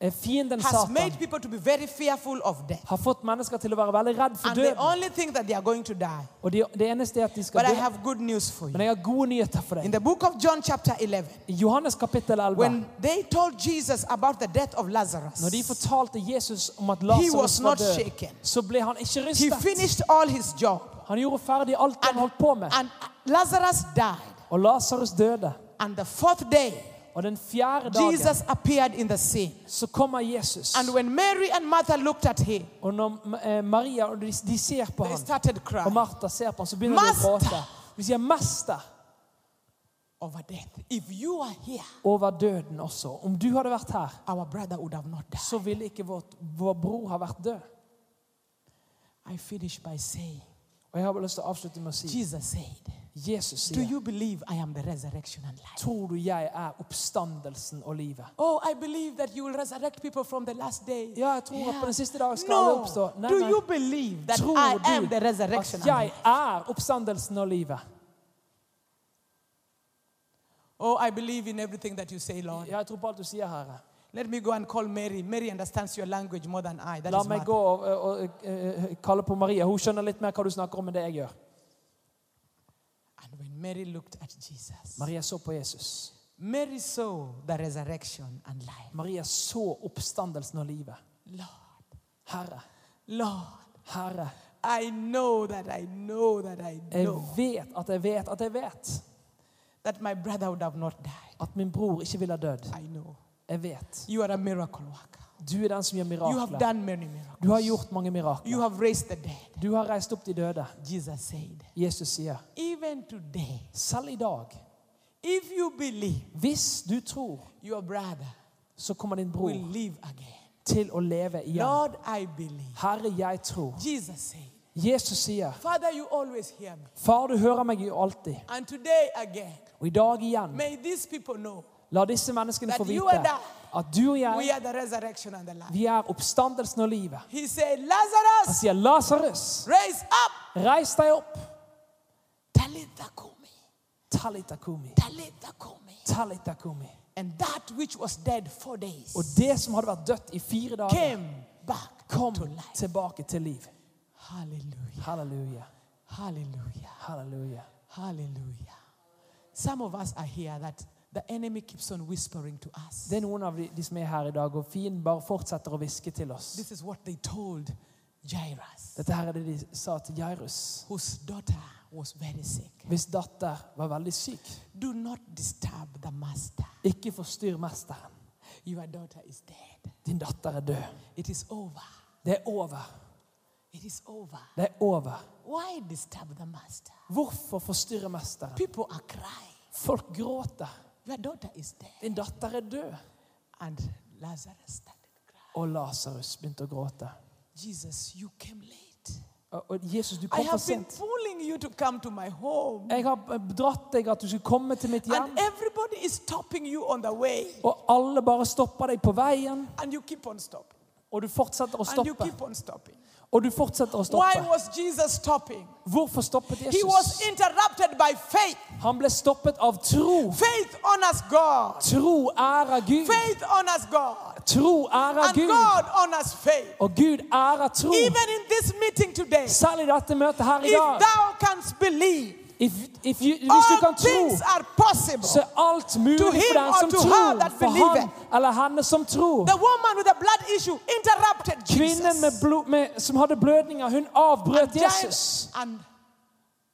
S2: Eh, Fienden
S1: has
S2: Satan
S1: made people to be very fearful of death.
S2: har fått mennesker til å være veldig redd for
S1: And the
S2: døden.
S1: only thing that they are going to die.
S2: Og de, det eneste er at de
S1: But
S2: skal
S1: I
S2: dø.
S1: have good news for you.
S2: Men jeg har gode nyheter for
S1: In
S2: deg.
S1: the book of John, chapter 11,
S2: I Johannes kapittel 11,
S1: when they told Jesus about the death of
S2: når de
S1: Lazarus,
S2: fortalte Jesus om at
S1: He was
S2: Lasarus var
S1: not
S2: død,
S1: shaken.
S2: så ble han ikke
S1: he
S2: rystet.
S1: finished all his job.
S2: Han gjorde ferdig alt han
S1: And,
S2: holdt på med.
S1: and Lazarus died.
S2: Og Lasarus døde.
S1: And the fourth day,
S2: Og den fjerde dagen
S1: Jesus appeared in the sea.
S2: så kommer Jesus.
S1: And when Mary and Martha looked at him,
S2: Og når eh, Maria og de, de ser på
S1: they
S2: ham,
S1: started
S2: og
S1: crying
S2: Martha ser på ham, så begynner de å
S1: Master!
S2: gråte. De sier 'Mester'
S1: over death. If you are here,
S2: over døden også. Om du hadde vært her,
S1: our brother would have not died.
S2: så ville ikke vårt, vår bror ha vært død.
S1: I finish by saying,
S2: Og jeg har bare lyst til å avslutte med å si
S1: Jesus said,
S2: Jesus
S1: Do
S2: sier
S1: you believe I am the resurrection and life?
S2: Tror du jeg er oppstandelsen og livet?
S1: Oh, I believe that you will resurrect people from the last day.
S2: Ja, jeg tror at på den siste dagen skal alle oppstå.
S1: No.
S2: Nei,
S1: Do
S2: nei.
S1: you believe that
S2: Tror
S1: I am the
S2: du at
S1: resurrection? and
S2: jeg
S1: life?
S2: er oppstandelsen og livet?
S1: Oh, I believe in everything that you say, Lord.
S2: Ja, jeg tror på alt du sier, Herre.
S1: Let me go and call Mary. Mary understands your language more than I. That
S2: La
S1: is
S2: meg
S1: Martha.
S2: gå og, og, eh, kalle på Maria. Hun skjønner litt mer hva du snakker om enn det jeg gjør.
S1: And when Mary looked at Jesus,
S2: Maria så på Jesus.
S1: Mary saw the resurrection and life.
S2: Maria så oppstandelsen og livet.
S1: Lord,
S2: Herre,
S1: Lord,
S2: Herre,
S1: I know that I know that I
S2: jeg
S1: know
S2: vet at jeg vet at jeg vet
S1: that my brother would have not died.
S2: at min bror ikke ville ha dødd.
S1: I know.
S2: Jeg vet.
S1: You are a miracle worker.
S2: Du er den som gjør
S1: You have
S2: mirakler.
S1: done many miracles.
S2: Du har gjort mange
S1: You
S2: mirakler.
S1: have raised the dead.
S2: Du har reist opp de døde.
S1: Jesus said,
S2: Jesus sier,
S1: even today,
S2: selv i dag,
S1: if you believe,
S2: hvis du tror,
S1: your brother
S2: så kommer din
S1: will
S2: bror
S1: live again.
S2: til å leve igjen.
S1: Lord, I believe.
S2: Herre, jeg tror.
S1: Jesus said,
S2: Jesus sier,
S1: Father, you always hear me.
S2: Far, du hører meg jo alltid.
S1: And today again,
S2: Og i dag igjen,
S1: may these people know
S2: la disse menneskene få
S1: That you and
S2: vite
S1: I,
S2: at du og
S1: we
S2: jeg,
S1: are the resurrection and the life.
S2: vi er oppstandelsen og livet.
S1: He said,
S2: Han
S1: Lazarus,
S2: sier, Lasarus,
S1: raise up.
S2: reis deg opp.
S1: Talitha kumi,
S2: Talita kumi.
S1: talitha kumi.
S2: Talita kumi.
S1: And that which was dead four days
S2: Og det som hadde vært dødt i fire dager,
S1: came back
S2: kom
S1: to life.
S2: tilbake til liv.
S1: Hallelujah.
S2: Halleluja.
S1: Hallelujah.
S2: Halleluja.
S1: Hallelujah. Some of us are here that the enemy keeps on whispering to us.
S2: Det er noen av de, de som er her i dag, og fienden bare fortsetter å hviske til oss.
S1: This is what they told Jairus,
S2: Dette her er det de sa til Jairus.
S1: whose daughter was very sick.
S2: Hvis datter var veldig syk,
S1: Do not disturb the master.
S2: ikke forstyrr mesteren.
S1: Your daughter is dead.
S2: Din datter er død.
S1: It is over.
S2: Det er over.
S1: It is over.
S2: Det er over.
S1: Why disturb the master?
S2: Hvorfor forstyrre mesteren?
S1: People are crying.
S2: Folk gråter.
S1: Your daughter is dead.
S2: Din datter er død.
S1: And Lazarus started crying.
S2: Og Lasarus begynte å gråte.
S1: Jesus, you came late.
S2: Og og Jesus, du
S1: I
S2: kom for
S1: have been
S2: sent.
S1: pulling you to come to my home.
S2: Jeg har eh, dratt deg at du skulle komme til mitt hjem.
S1: And everybody is stopping you on the way.
S2: Og alle bare stopper deg på veien,
S1: And you keep on stopping.
S2: og du fortsetter å
S1: And you
S2: stoppe.
S1: keep on stopping.
S2: Og du fortsetter å
S1: Why
S2: stoppe.
S1: was Jesus stopping?
S2: Hvorfor stoppet
S1: He was
S2: Jesus?
S1: interrupted by faith.
S2: Han ble stoppet av tro.
S1: Faith honors God.
S2: Tro ærer Gud.
S1: Faith honors God.
S2: Tro ærer
S1: And
S2: Gud.
S1: God honors faith.
S2: Og Gud ærer tro.
S1: Even in this meeting today,
S2: Selv i dette møtet her i
S1: if
S2: dag.
S1: thou canst believe,
S2: If, if you, hvis du
S1: all
S2: kan tro,
S1: things are possible.
S2: så er alt mulig
S1: To
S2: for
S1: him
S2: den
S1: or
S2: som
S1: to her
S2: tror.
S1: that
S2: For han
S1: believeth.
S2: eller henne som tror.
S1: The woman with the blood issue interrupted
S2: Kvinnen med
S1: Jesus.
S2: blod, med, som hadde blødninger, hun avbrøt Jesus.
S1: Jair- And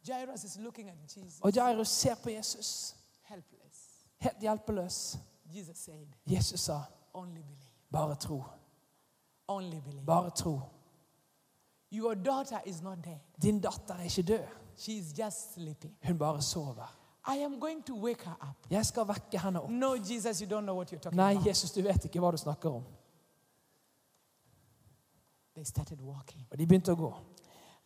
S1: Jairus is looking at Jesus,
S2: Og Jairus ser på Jesus,
S1: helpless.
S2: helt hjelpeløs.
S1: Jesus said,
S2: Jesus sa,
S1: Only believe.
S2: bare tro,
S1: Only believe.
S2: bare tro.
S1: Your daughter is not dead.
S2: Din datter er ikke død,
S1: She is just sleeping.
S2: hun bare sover.
S1: I am going to wake her up.
S2: Jeg skal vekke henne opp.
S1: No, Jesus, you don't know what you're talking
S2: Nei,
S1: about.
S2: Jesus, du vet ikke hva du snakker om.
S1: They started walking.
S2: Og de begynte å gå.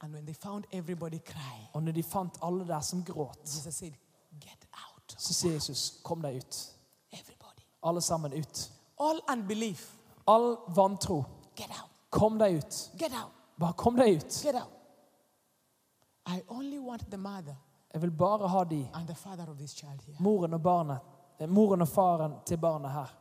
S1: And when they found everybody crying,
S2: Og når de fant alle der som gråt,
S1: Jesus said, Get out.
S2: så sier Jesus, kom deg ut.
S1: Everybody.
S2: Alle sammen ut.
S1: All unbelief.
S2: All vantro,
S1: Get out.
S2: kom deg ut.
S1: Get out.
S2: Bare kom deg ut.
S1: Get out. I only want the mother
S2: Jeg vil bare ha de,
S1: and the father of this child here.
S2: moren og barnet, eh, moren og faren til barnet her.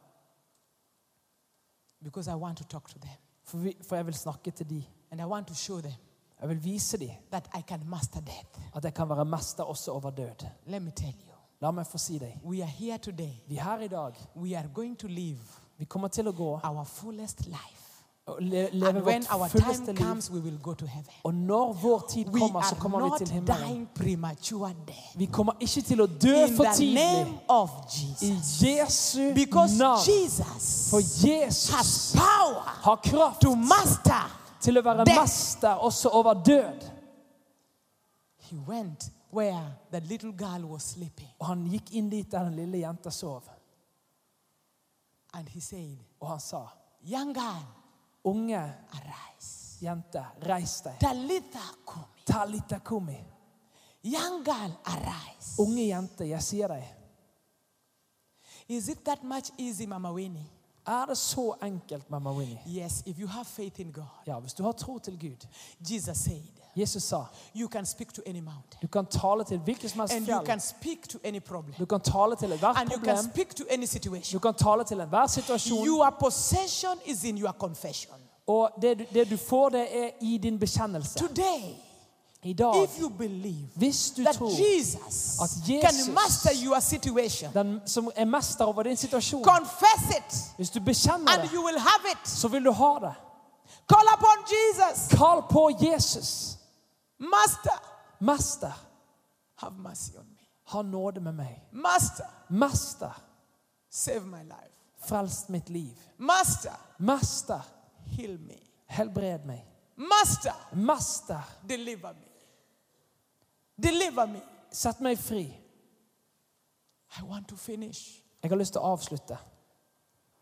S1: Because I want to talk to them.
S2: For, vi, for jeg vil snakke til de.
S1: And I want to show them
S2: Jeg vil vise de
S1: that I can master death.
S2: at jeg kan være mester også over død.
S1: Let me tell you,
S2: La meg få si deg.
S1: we are here today.
S2: Vi her i dag,
S1: We are going to live
S2: vi kommer til å gå
S1: our fullest life.
S2: og le, leve
S1: And when
S2: vårt
S1: our
S2: fulleste
S1: time
S2: liv.
S1: comes, we will go to heaven.
S2: Og når vår tid
S1: We
S2: kommer, så
S1: are
S2: kommer vi til
S1: not
S2: himmelen.
S1: dying premature death.
S2: Vi kommer ikke til å dø
S1: In
S2: for
S1: the
S2: tidlig.
S1: name of
S2: I
S1: Jesus.
S2: Jesu
S1: Because
S2: navn. For
S1: Jesus has
S2: Jesus
S1: power
S2: har kraft
S1: to master.
S2: til å være
S1: death.
S2: mester også over død.
S1: He went where the little girl was sleeping.
S2: Og han gikk inn dit der den lille jenta sov,
S1: And he said,
S2: og han sa,
S1: Young girl,
S2: unge
S1: arise.
S2: jente, reis deg.
S1: Talitha kumi.
S2: Talita kumi.
S1: Young girl, arise.
S2: Unge jente, jeg sier deg,
S1: Is it that much easy, Mama Winnie?
S2: er det så enkelt, mamma Winnie?
S1: Yes, if you have faith in God.
S2: Ja, hvis du har tro til Gud.
S1: Jesus said,
S2: Jesus sa,
S1: You can speak to any mountain,
S2: du kan tale til hvilket som helst
S1: and you
S2: fjell.
S1: can speak to any problem,
S2: Du kan tale til ethvert
S1: and you can
S2: problem.
S1: speak to any
S2: Du
S1: situation.
S2: kan tale til enhver situasjon.
S1: Your possession is in your confession.
S2: Og det du, det du får, det er i din bekjennelse.
S1: Today,
S2: I dag,
S1: if you believe
S2: hvis du
S1: that
S2: tror
S1: Jesus
S2: at Jesus-
S1: can master your situation,
S2: den som er mester over din situasjon,
S1: confess
S2: hvis du
S1: it,
S2: bekjenner
S1: and
S2: det,
S1: you will have it.
S2: så vil du ha det.
S1: Call upon Jesus.
S2: Kall på Jesus.
S1: Master,
S2: Mester,
S1: have mercy on me.
S2: ha nåde med meg.
S1: Master,
S2: Mester,
S1: save my life.
S2: frelst mitt liv.
S1: Master,
S2: Mester,
S1: heal me.
S2: helbred meg.
S1: Master,
S2: Mester,
S1: deliver me. Deliver me.
S2: sett meg fri.
S1: I want to finish.
S2: Jeg har lyst til å avslutte.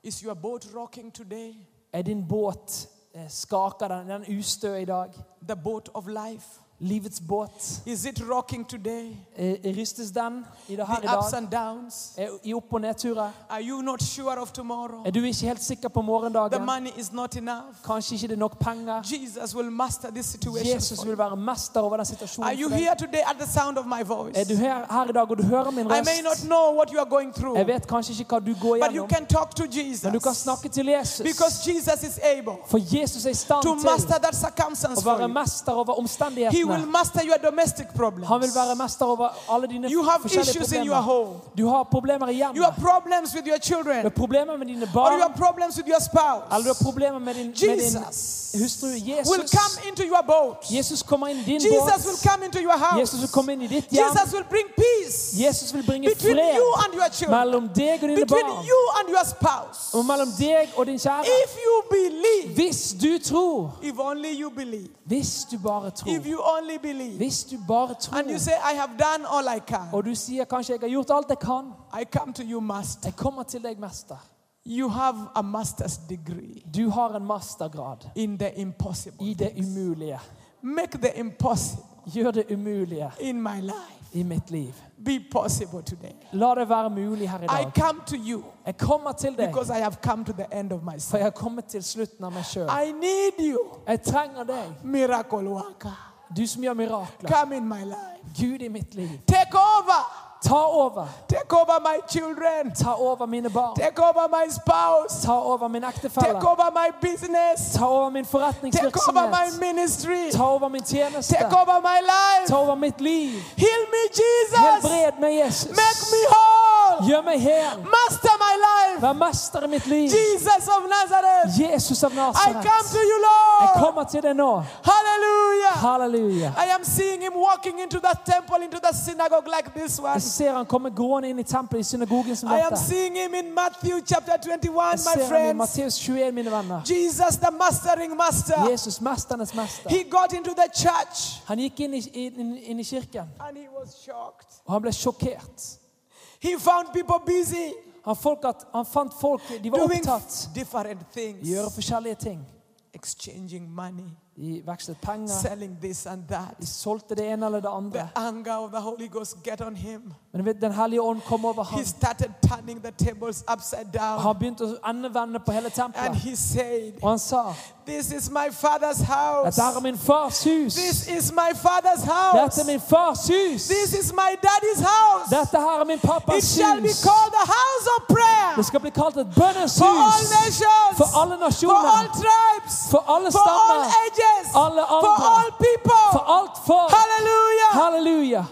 S1: Is your boat rocking today?
S2: Er din båt eh, Skaker den? Er den ustø i dag?
S1: The boat of life.
S2: Livets båt.
S1: Is it rocking today?
S2: Eh, Rystes den i det her i
S1: The ups
S2: dag?
S1: and downs.
S2: Er I opp- og nedturer?
S1: Are you not sure of tomorrow?
S2: Er du ikke helt sikker på
S1: The
S2: morgendagen?
S1: money is not enough.
S2: Kanskje ikke det er nok penger?
S1: Jesus will master this situation.
S2: Jesus
S1: for you.
S2: vil være mester over den
S1: Are
S2: situasjonen
S1: you
S2: for deg.
S1: here today at the sound of my
S2: Er du
S1: voice?
S2: her, her i dag og du hører min
S1: I may not
S2: røst?
S1: know what you are going
S2: Jeg
S1: through,
S2: vet kanskje ikke hva du går
S1: but you
S2: gjennom,
S1: can talk to
S2: men du kan
S1: Jesus
S2: snakke til Jesus.
S1: because Jesus is able
S2: For Jesus er i stand
S1: to
S2: til
S1: master that
S2: å
S1: circumstance for
S2: være
S1: you.
S2: mester over
S1: He will
S2: omstendighetene.
S1: master your domestic
S2: Han vil
S1: problems.
S2: være mester over alle dine
S1: You have
S2: forskjellige
S1: issues in your
S2: problemer.
S1: home.
S2: Du har problemer i
S1: You have
S2: hjemmet.
S1: problems with your
S2: Du
S1: children,
S2: har problemer med dine
S1: or you
S2: barn.
S1: have problems with your
S2: Eller du har
S1: spouse.
S2: problemer med din, med din
S1: Jesus
S2: hustru.
S1: will
S2: Jesus,
S1: come into your boat.
S2: Jesus kommer inn i din
S1: Jesus will
S2: båt.
S1: come into your house.
S2: Jesus vil komme inn i ditt hjem.
S1: Jesus will bring peace
S2: Jesus vil bringe
S1: between
S2: fred
S1: you and your children,
S2: mellom deg og dine
S1: between
S2: barn.
S1: you and your spouse.
S2: Og mellom deg og din kjære.
S1: If you believe,
S2: Hvis du tror,
S1: if only you believe,
S2: hvis du bare
S1: if
S2: tror,
S1: you only believe,
S2: hvis du bare
S1: and you
S2: tror,
S1: say, I have done all I can,
S2: og du sier kanskje 'jeg har gjort alt jeg kan',
S1: I come to you, Master.
S2: jeg kommer til deg, mester.
S1: You have a master's degree
S2: Du har en mastergrad
S1: in the impossible.
S2: i det umulige.
S1: Make the impossible
S2: Gjør det umulige
S1: in my life
S2: i mitt liv.
S1: be possible today.
S2: La det være mulig her i
S1: I
S2: dag.
S1: come to you
S2: Jeg kommer til deg,
S1: because I have come to the end of
S2: for
S1: myself.
S2: jeg har kommet til slutten av meg sjøl.
S1: I need you,
S2: Jeg trenger deg,
S1: miracle worker.
S2: du som gjør mirakler.
S1: Come in my life.
S2: Gud i mitt liv.
S1: Take over.
S2: Ta over.
S1: Take over my children.
S2: Ta over mine barn.
S1: Take over my spouse.
S2: Ta over min ektefelle.
S1: Take over my business.
S2: Ta over min
S1: Take over my
S2: forretningsvirksomhet.
S1: ministry.
S2: Ta over min tjeneste.
S1: Take over my life.
S2: Ta over mitt liv.
S1: Heal me, Jesus.
S2: Helbred meg, Jesus.
S1: Make me whole.
S2: Gjør meg hel.
S1: Master my life.
S2: Vær mester i mitt liv.
S1: Jesus of Nazareth.
S2: Jesus av
S1: I come to
S2: Nasaret.
S1: you,
S2: Jeg
S1: Lord.
S2: kommer til deg nå.
S1: Hallelujah.
S2: Halleluja.
S1: I am seeing him walking into the temple, into the synagogue like this one.
S2: Jeg ser han komme gående inn i tempelet i synagogen som
S1: I am
S2: dette.
S1: seeing him in Matthew chapter 21,
S2: Jeg
S1: my
S2: ser han i
S1: friends.
S2: Matteus 21, mine venner.
S1: Jesus, the mastering master,
S2: Jesus, mesternes mester.
S1: he got into the church
S2: Han gikk inn i, inn, inn i kirken,
S1: and he was shocked.
S2: og han ble sjokkert.
S1: He found people busy
S2: Han, folk at, han fant folk De var
S1: doing
S2: opptatt
S1: different
S2: i å gjøre
S1: things,
S2: forskjellige ting.
S1: exchanging money,
S2: De vekslet penger,
S1: selling this and that.
S2: de solgte det ene eller det andre.
S1: The anger of the Holy Ghost get on him.
S2: Men du vet, Den hellige ånd kom over
S1: He
S2: ham.
S1: started turning the tables upside down
S2: Han begynte å endevende på hele
S1: and
S2: tempelet.
S1: he said,
S2: Og han sa
S1: This is my father's house.
S2: Dette her er min fars hus.
S1: This is my father's house.
S2: Dette er min fars hus.
S1: This is my daddy's house.
S2: Dette her er min
S1: It
S2: pappas
S1: shall be
S2: hus.
S1: called the house of prayer
S2: Det skal bli kalt et
S1: for all
S2: bønneshus.
S1: nations,
S2: For alle
S1: for all
S2: nasjoner,
S1: tribes,
S2: for alle
S1: for all
S2: stammer,
S1: ages,
S2: alle
S1: for
S2: aldre,
S1: all
S2: for
S1: people.
S2: alt folk.
S1: Hallelujah.
S2: Halleluja.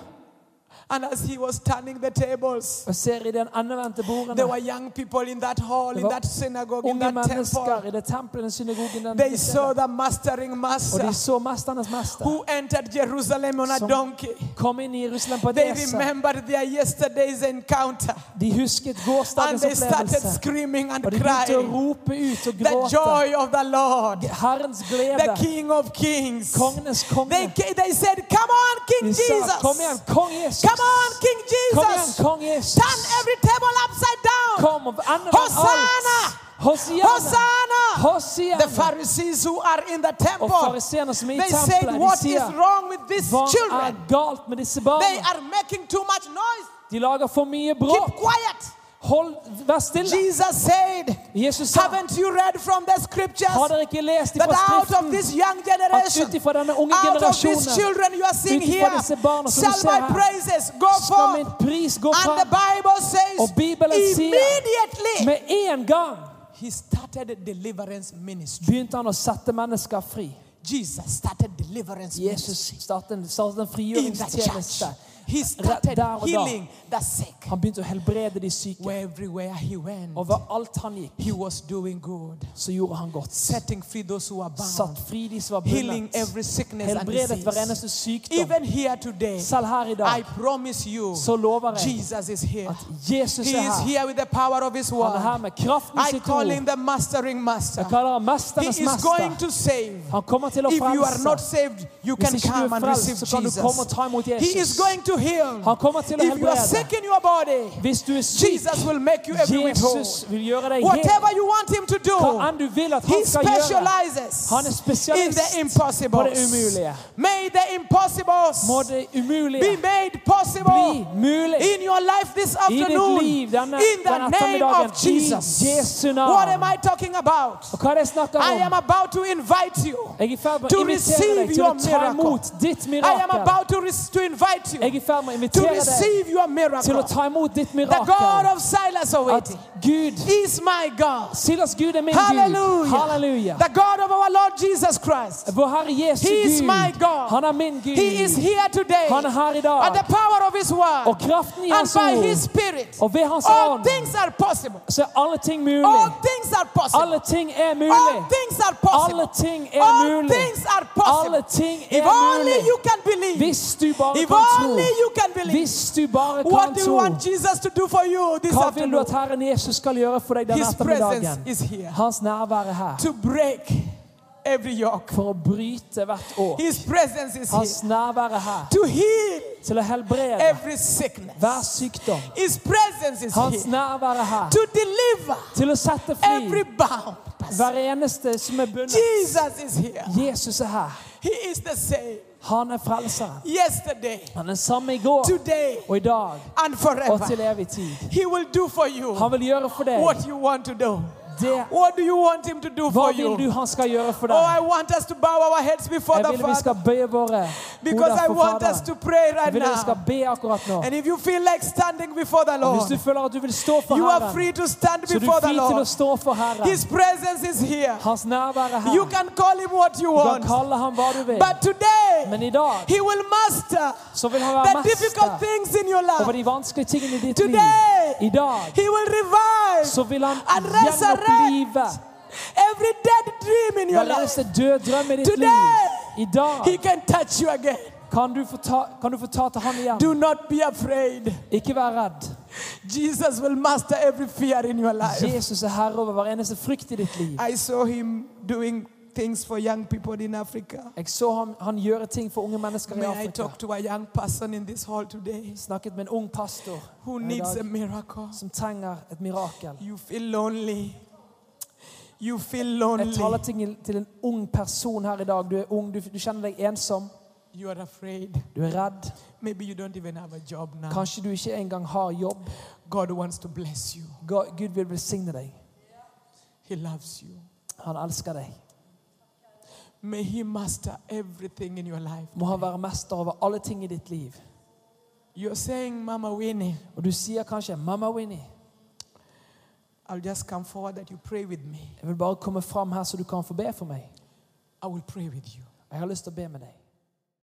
S1: And as he was turning the tables,
S2: Og ser i den endevendte
S1: there
S2: bordene
S1: were young people in that hall, in
S2: var
S1: that synagogue, in
S2: unge
S1: that
S2: mennesker
S1: temple.
S2: i det tempelet, den synagogen, den
S1: They
S2: det
S1: saw
S2: stedet.
S1: the mastering
S2: Og
S1: master
S2: de så mesternes mester
S1: who entered Jerusalem on a
S2: Som-
S1: donkey.
S2: komme inn i Jerusalem på
S1: They
S2: Edesa.
S1: remembered their yesterday's encounter
S2: De husket
S1: and
S2: gårsdagens
S1: they started
S2: opplevelse.
S1: screaming and
S2: Og de begynte å
S1: crying.
S2: rope ut og
S1: The
S2: gråte.
S1: joy of the Lord,
S2: Herrens
S1: the
S2: glede.
S1: King of Kings.
S2: Kongenes
S1: They,
S2: konge.
S1: ca- they said, Come on, King
S2: De sa,
S1: Jesus.
S2: kom igjen, kong Jesus.
S1: Come on, King
S2: Kom igjen,
S1: Jesus.
S2: kong
S1: Turn
S2: Jesus.
S1: every table upside down.
S2: Kom og ende
S1: Hosanna!
S2: alt. Hosianna.
S1: Hosanna. The
S2: Hosianna.
S1: Pharisees who are in the
S2: Og
S1: temple,
S2: fariseerne som er
S1: they
S2: i
S1: said,
S2: tempelet, de
S1: What is
S2: sier,
S1: wrong with these
S2: hva er
S1: children?
S2: galt med disse
S1: They
S2: barna?
S1: are making too much noise.
S2: De lager for mye
S1: Keep
S2: bråk.
S1: quiet.
S2: Hold, vær stille.
S1: Jesus said,
S2: Jesus sa,
S1: Haven't you read from the
S2: har
S1: scriptures
S2: dere ikke lest
S1: that
S2: ifra
S1: out of
S2: Skriften
S1: this young
S2: at
S1: generation
S2: ut ifra denne unge
S1: out of these
S2: generasjonen
S1: children you are seeing
S2: Ut ifrån
S1: here
S2: dessa barnen som du
S1: shall
S2: ser
S1: my
S2: här.
S1: praises go
S2: skal min
S1: forth.
S2: pris gå
S1: And the
S2: fram?
S1: Bible says
S2: Och Bibeln säger-
S1: immediately
S2: Med en gang
S1: he started deliverance ministry.
S2: begynte han å sette mennesker fri.
S1: Jesus started deliverance
S2: Jesus
S1: ministry
S2: startet en, startet en
S1: in the
S2: frigjøringstjeneste.
S1: church. He
S2: Rätt
S1: started
S2: där och då.
S1: healing the sick.
S2: Han begynte å helbrede de syke.
S1: Everywhere he went,
S2: Over alt han gikk,
S1: he was doing good.
S2: så gjorde han godt.
S1: Setting free those who are bound.
S2: Satt fri de som var
S1: Healing
S2: bundet.
S1: every sickness and
S2: Helbredet hver
S1: disease.
S2: eneste sykdom.
S1: Even here today,
S2: Selv her i
S1: I
S2: dag
S1: promise you,
S2: så lover jeg
S1: Jesus is here.
S2: at Jesus
S1: He
S2: er
S1: is
S2: her.
S1: here with the power of his
S2: Han er her
S1: word.
S2: med kraften i
S1: I
S2: sitt
S1: call
S2: ord.
S1: him the mastering master.
S2: Jeg kaller ham
S1: He
S2: mesternes
S1: is going
S2: mester.
S1: to save.
S2: Han kommer til å
S1: If you are not
S2: frelse.
S1: saved, you
S2: Hvis
S1: can
S2: ikke du
S1: come
S2: er
S1: and
S2: frelst,
S1: receive
S2: så kan du komme og
S1: Jesus.
S2: ta imot
S1: He is
S2: Jesus.
S1: going to heal.
S2: Han kommer til å
S1: If you are
S2: helbrede.
S1: sick in your body,
S2: Hvis du er syk,
S1: Jesus will make you every bit whole.
S2: Jesus vil gjøre deg hel.
S1: Whatever you want him to
S2: Hva
S1: do,
S2: enn du vil at
S1: he
S2: han skal gjøre,
S1: specializes
S2: Han er
S1: in
S2: spesialist
S1: the impossible.
S2: på det umulige.
S1: May the
S2: må
S1: impossibles
S2: det
S1: be
S2: umulige
S1: made
S2: bli
S1: possible
S2: mulig.
S1: in your life this
S2: I ditt
S1: afternoon.
S2: liv denne,
S1: in
S2: denne
S1: the name
S2: ettermiddagen
S1: of
S2: i
S1: Jesus.
S2: Jesu
S1: What am
S2: navn.
S1: I talking about?
S2: Og hva er det jeg snakker
S1: I am
S2: om?
S1: about to invite you.
S2: Jeg er i ferd med
S1: to
S2: å invitere
S1: receive
S2: deg til å
S1: your
S2: ta
S1: miracle.
S2: imot ditt
S1: I am
S2: mirakel.
S1: about to, res- to invite
S2: Jeg
S1: you
S2: er i ferd med å
S1: to
S2: invitere deg
S1: receive your
S2: til å
S1: miracle.
S2: ta imot ditt
S1: The God
S2: mirakel.
S1: of Silas
S2: At
S1: Oweti
S2: Gud,
S1: is my God.
S2: Silas Gud er min Gud.
S1: Hallelujah.
S2: Halleluja.
S1: The God of our Lord Jesus Christ.
S2: Vår Herre Jesu
S1: He is my
S2: Gud,
S1: God.
S2: han er min
S1: He is
S2: Gud.
S1: here today.
S2: Han er her i
S1: By the
S2: dag.
S1: power of His
S2: Og
S1: word
S2: kraften i
S1: and
S2: hans
S1: by His
S2: ord,
S1: Spirit,
S2: og ved hans
S1: all
S2: ånd,
S1: things are possible.
S2: så er alle ting
S1: All
S2: mulig.
S1: things are
S2: Alle
S1: possible.
S2: ting er mulig.
S1: All things are
S2: Alle
S1: possible.
S2: ting er
S1: All
S2: mulig.
S1: things are
S2: Alle
S1: possible.
S2: ting er
S1: If only
S2: mulig.
S1: you can believe.
S2: Hvis du bare
S1: If
S2: kan tro.
S1: only you can believe.
S2: Hvis du bare
S1: What
S2: kan
S1: do you
S2: tro.
S1: want Jesus to do for you this
S2: Hva vil du
S1: afternoon?
S2: at Herren Jesus skal gjøre for deg denne
S1: His presence
S2: ettermiddagen?
S1: is here
S2: Hans nærvær er her
S1: to break every yoke.
S2: for å bryte hvert år.
S1: His presence is
S2: Hans
S1: here
S2: nærvær er her
S1: to heal
S2: til å helbrede
S1: every sickness.
S2: hver sykdom.
S1: His presence is
S2: Hans
S1: here
S2: nærvær er her
S1: to deliver
S2: til å sette fri
S1: every bound person.
S2: hver eneste som er bundet.
S1: Jesus is here.
S2: Jesus er her.
S1: He is the same
S2: Han er frelseren.
S1: yesterday,
S2: Han er samme i går
S1: today,
S2: og i dag
S1: and
S2: og til
S1: forever.
S2: evig tid.
S1: He will do for you
S2: Han vil gjøre for deg
S1: what you want to do.
S2: det
S1: What do you want Him to do
S2: Hva
S1: for
S2: vil du
S1: you?
S2: han skal gjøre for
S1: Oh,
S2: deg?
S1: I want us to bow our heads before
S2: Jeg
S1: the
S2: vil vi
S1: Father.
S2: skal bøye våre
S1: Because I
S2: hoder for
S1: want us to
S2: Faderen.
S1: pray
S2: Jeg
S1: right
S2: vil vi skal
S1: now.
S2: be akkurat nå.
S1: And if you feel like standing before the
S2: Hvis du
S1: Lord,
S2: føler at du vil stå for
S1: you are
S2: Herren,
S1: free to stand
S2: så er du
S1: before the
S2: fri til å
S1: Lord.
S2: stå for Herren.
S1: His presence is here.
S2: Hans nærvær er her.
S1: You can call him what you
S2: Du kan
S1: want.
S2: kalle ham hva du vil,
S1: But
S2: men
S1: today,
S2: i dag
S1: he will master
S2: så vil han være
S1: the difficult
S2: mester
S1: things in your
S2: over
S1: life.
S2: de vanskelige tingene i ditt liv. I
S1: Today,
S2: dag
S1: he will revive
S2: så vil han
S1: and resurrect
S2: gjenopplive
S1: every dead dream in your
S2: hver
S1: life.
S2: eneste død drøm i ditt liv.
S1: Today,
S2: I dag
S1: he can touch you again.
S2: kan du få ta, kan du få ta til han igjen.
S1: Do not be afraid.
S2: Ikke vær redd.
S1: Jesus will master every fear in your life.
S2: Jesus er herre over hver eneste frykt i ditt liv.
S1: I saw him doing things for young people in Africa.
S2: Jeg så ham, han gjøre ting for unge mennesker i
S1: May I
S2: Afrika.
S1: talk to a young person in this hall today
S2: Snakket med en ung pastor
S1: who
S2: her i
S1: needs a
S2: dag
S1: miracle?
S2: som trenger et mirakel.
S1: You feel lonely. You feel
S2: Jeg taler
S1: lonely.
S2: til, til en ung person her i dag. Du er ung, du, du kjenner deg ensom,
S1: You are afraid.
S2: du er redd.
S1: Maybe you don't even have a job now.
S2: Kanskje du ikke engang har jobb.
S1: God wants to bless you.
S2: Ga- Gud vil velsigne deg.
S1: He loves you.
S2: Han elsker deg.
S1: May He master everything in your life.
S2: Må han være mester over alle ting i ditt liv.
S1: You're saying, Mama Winnie,
S2: Og du sier kanskje 'Mamma Winnie,
S1: I'll just come forward that you pray with me.
S2: jeg vil bare komme fram her så du kan få be for meg'.
S1: I will pray with you.
S2: Jeg har lyst til å be med deg.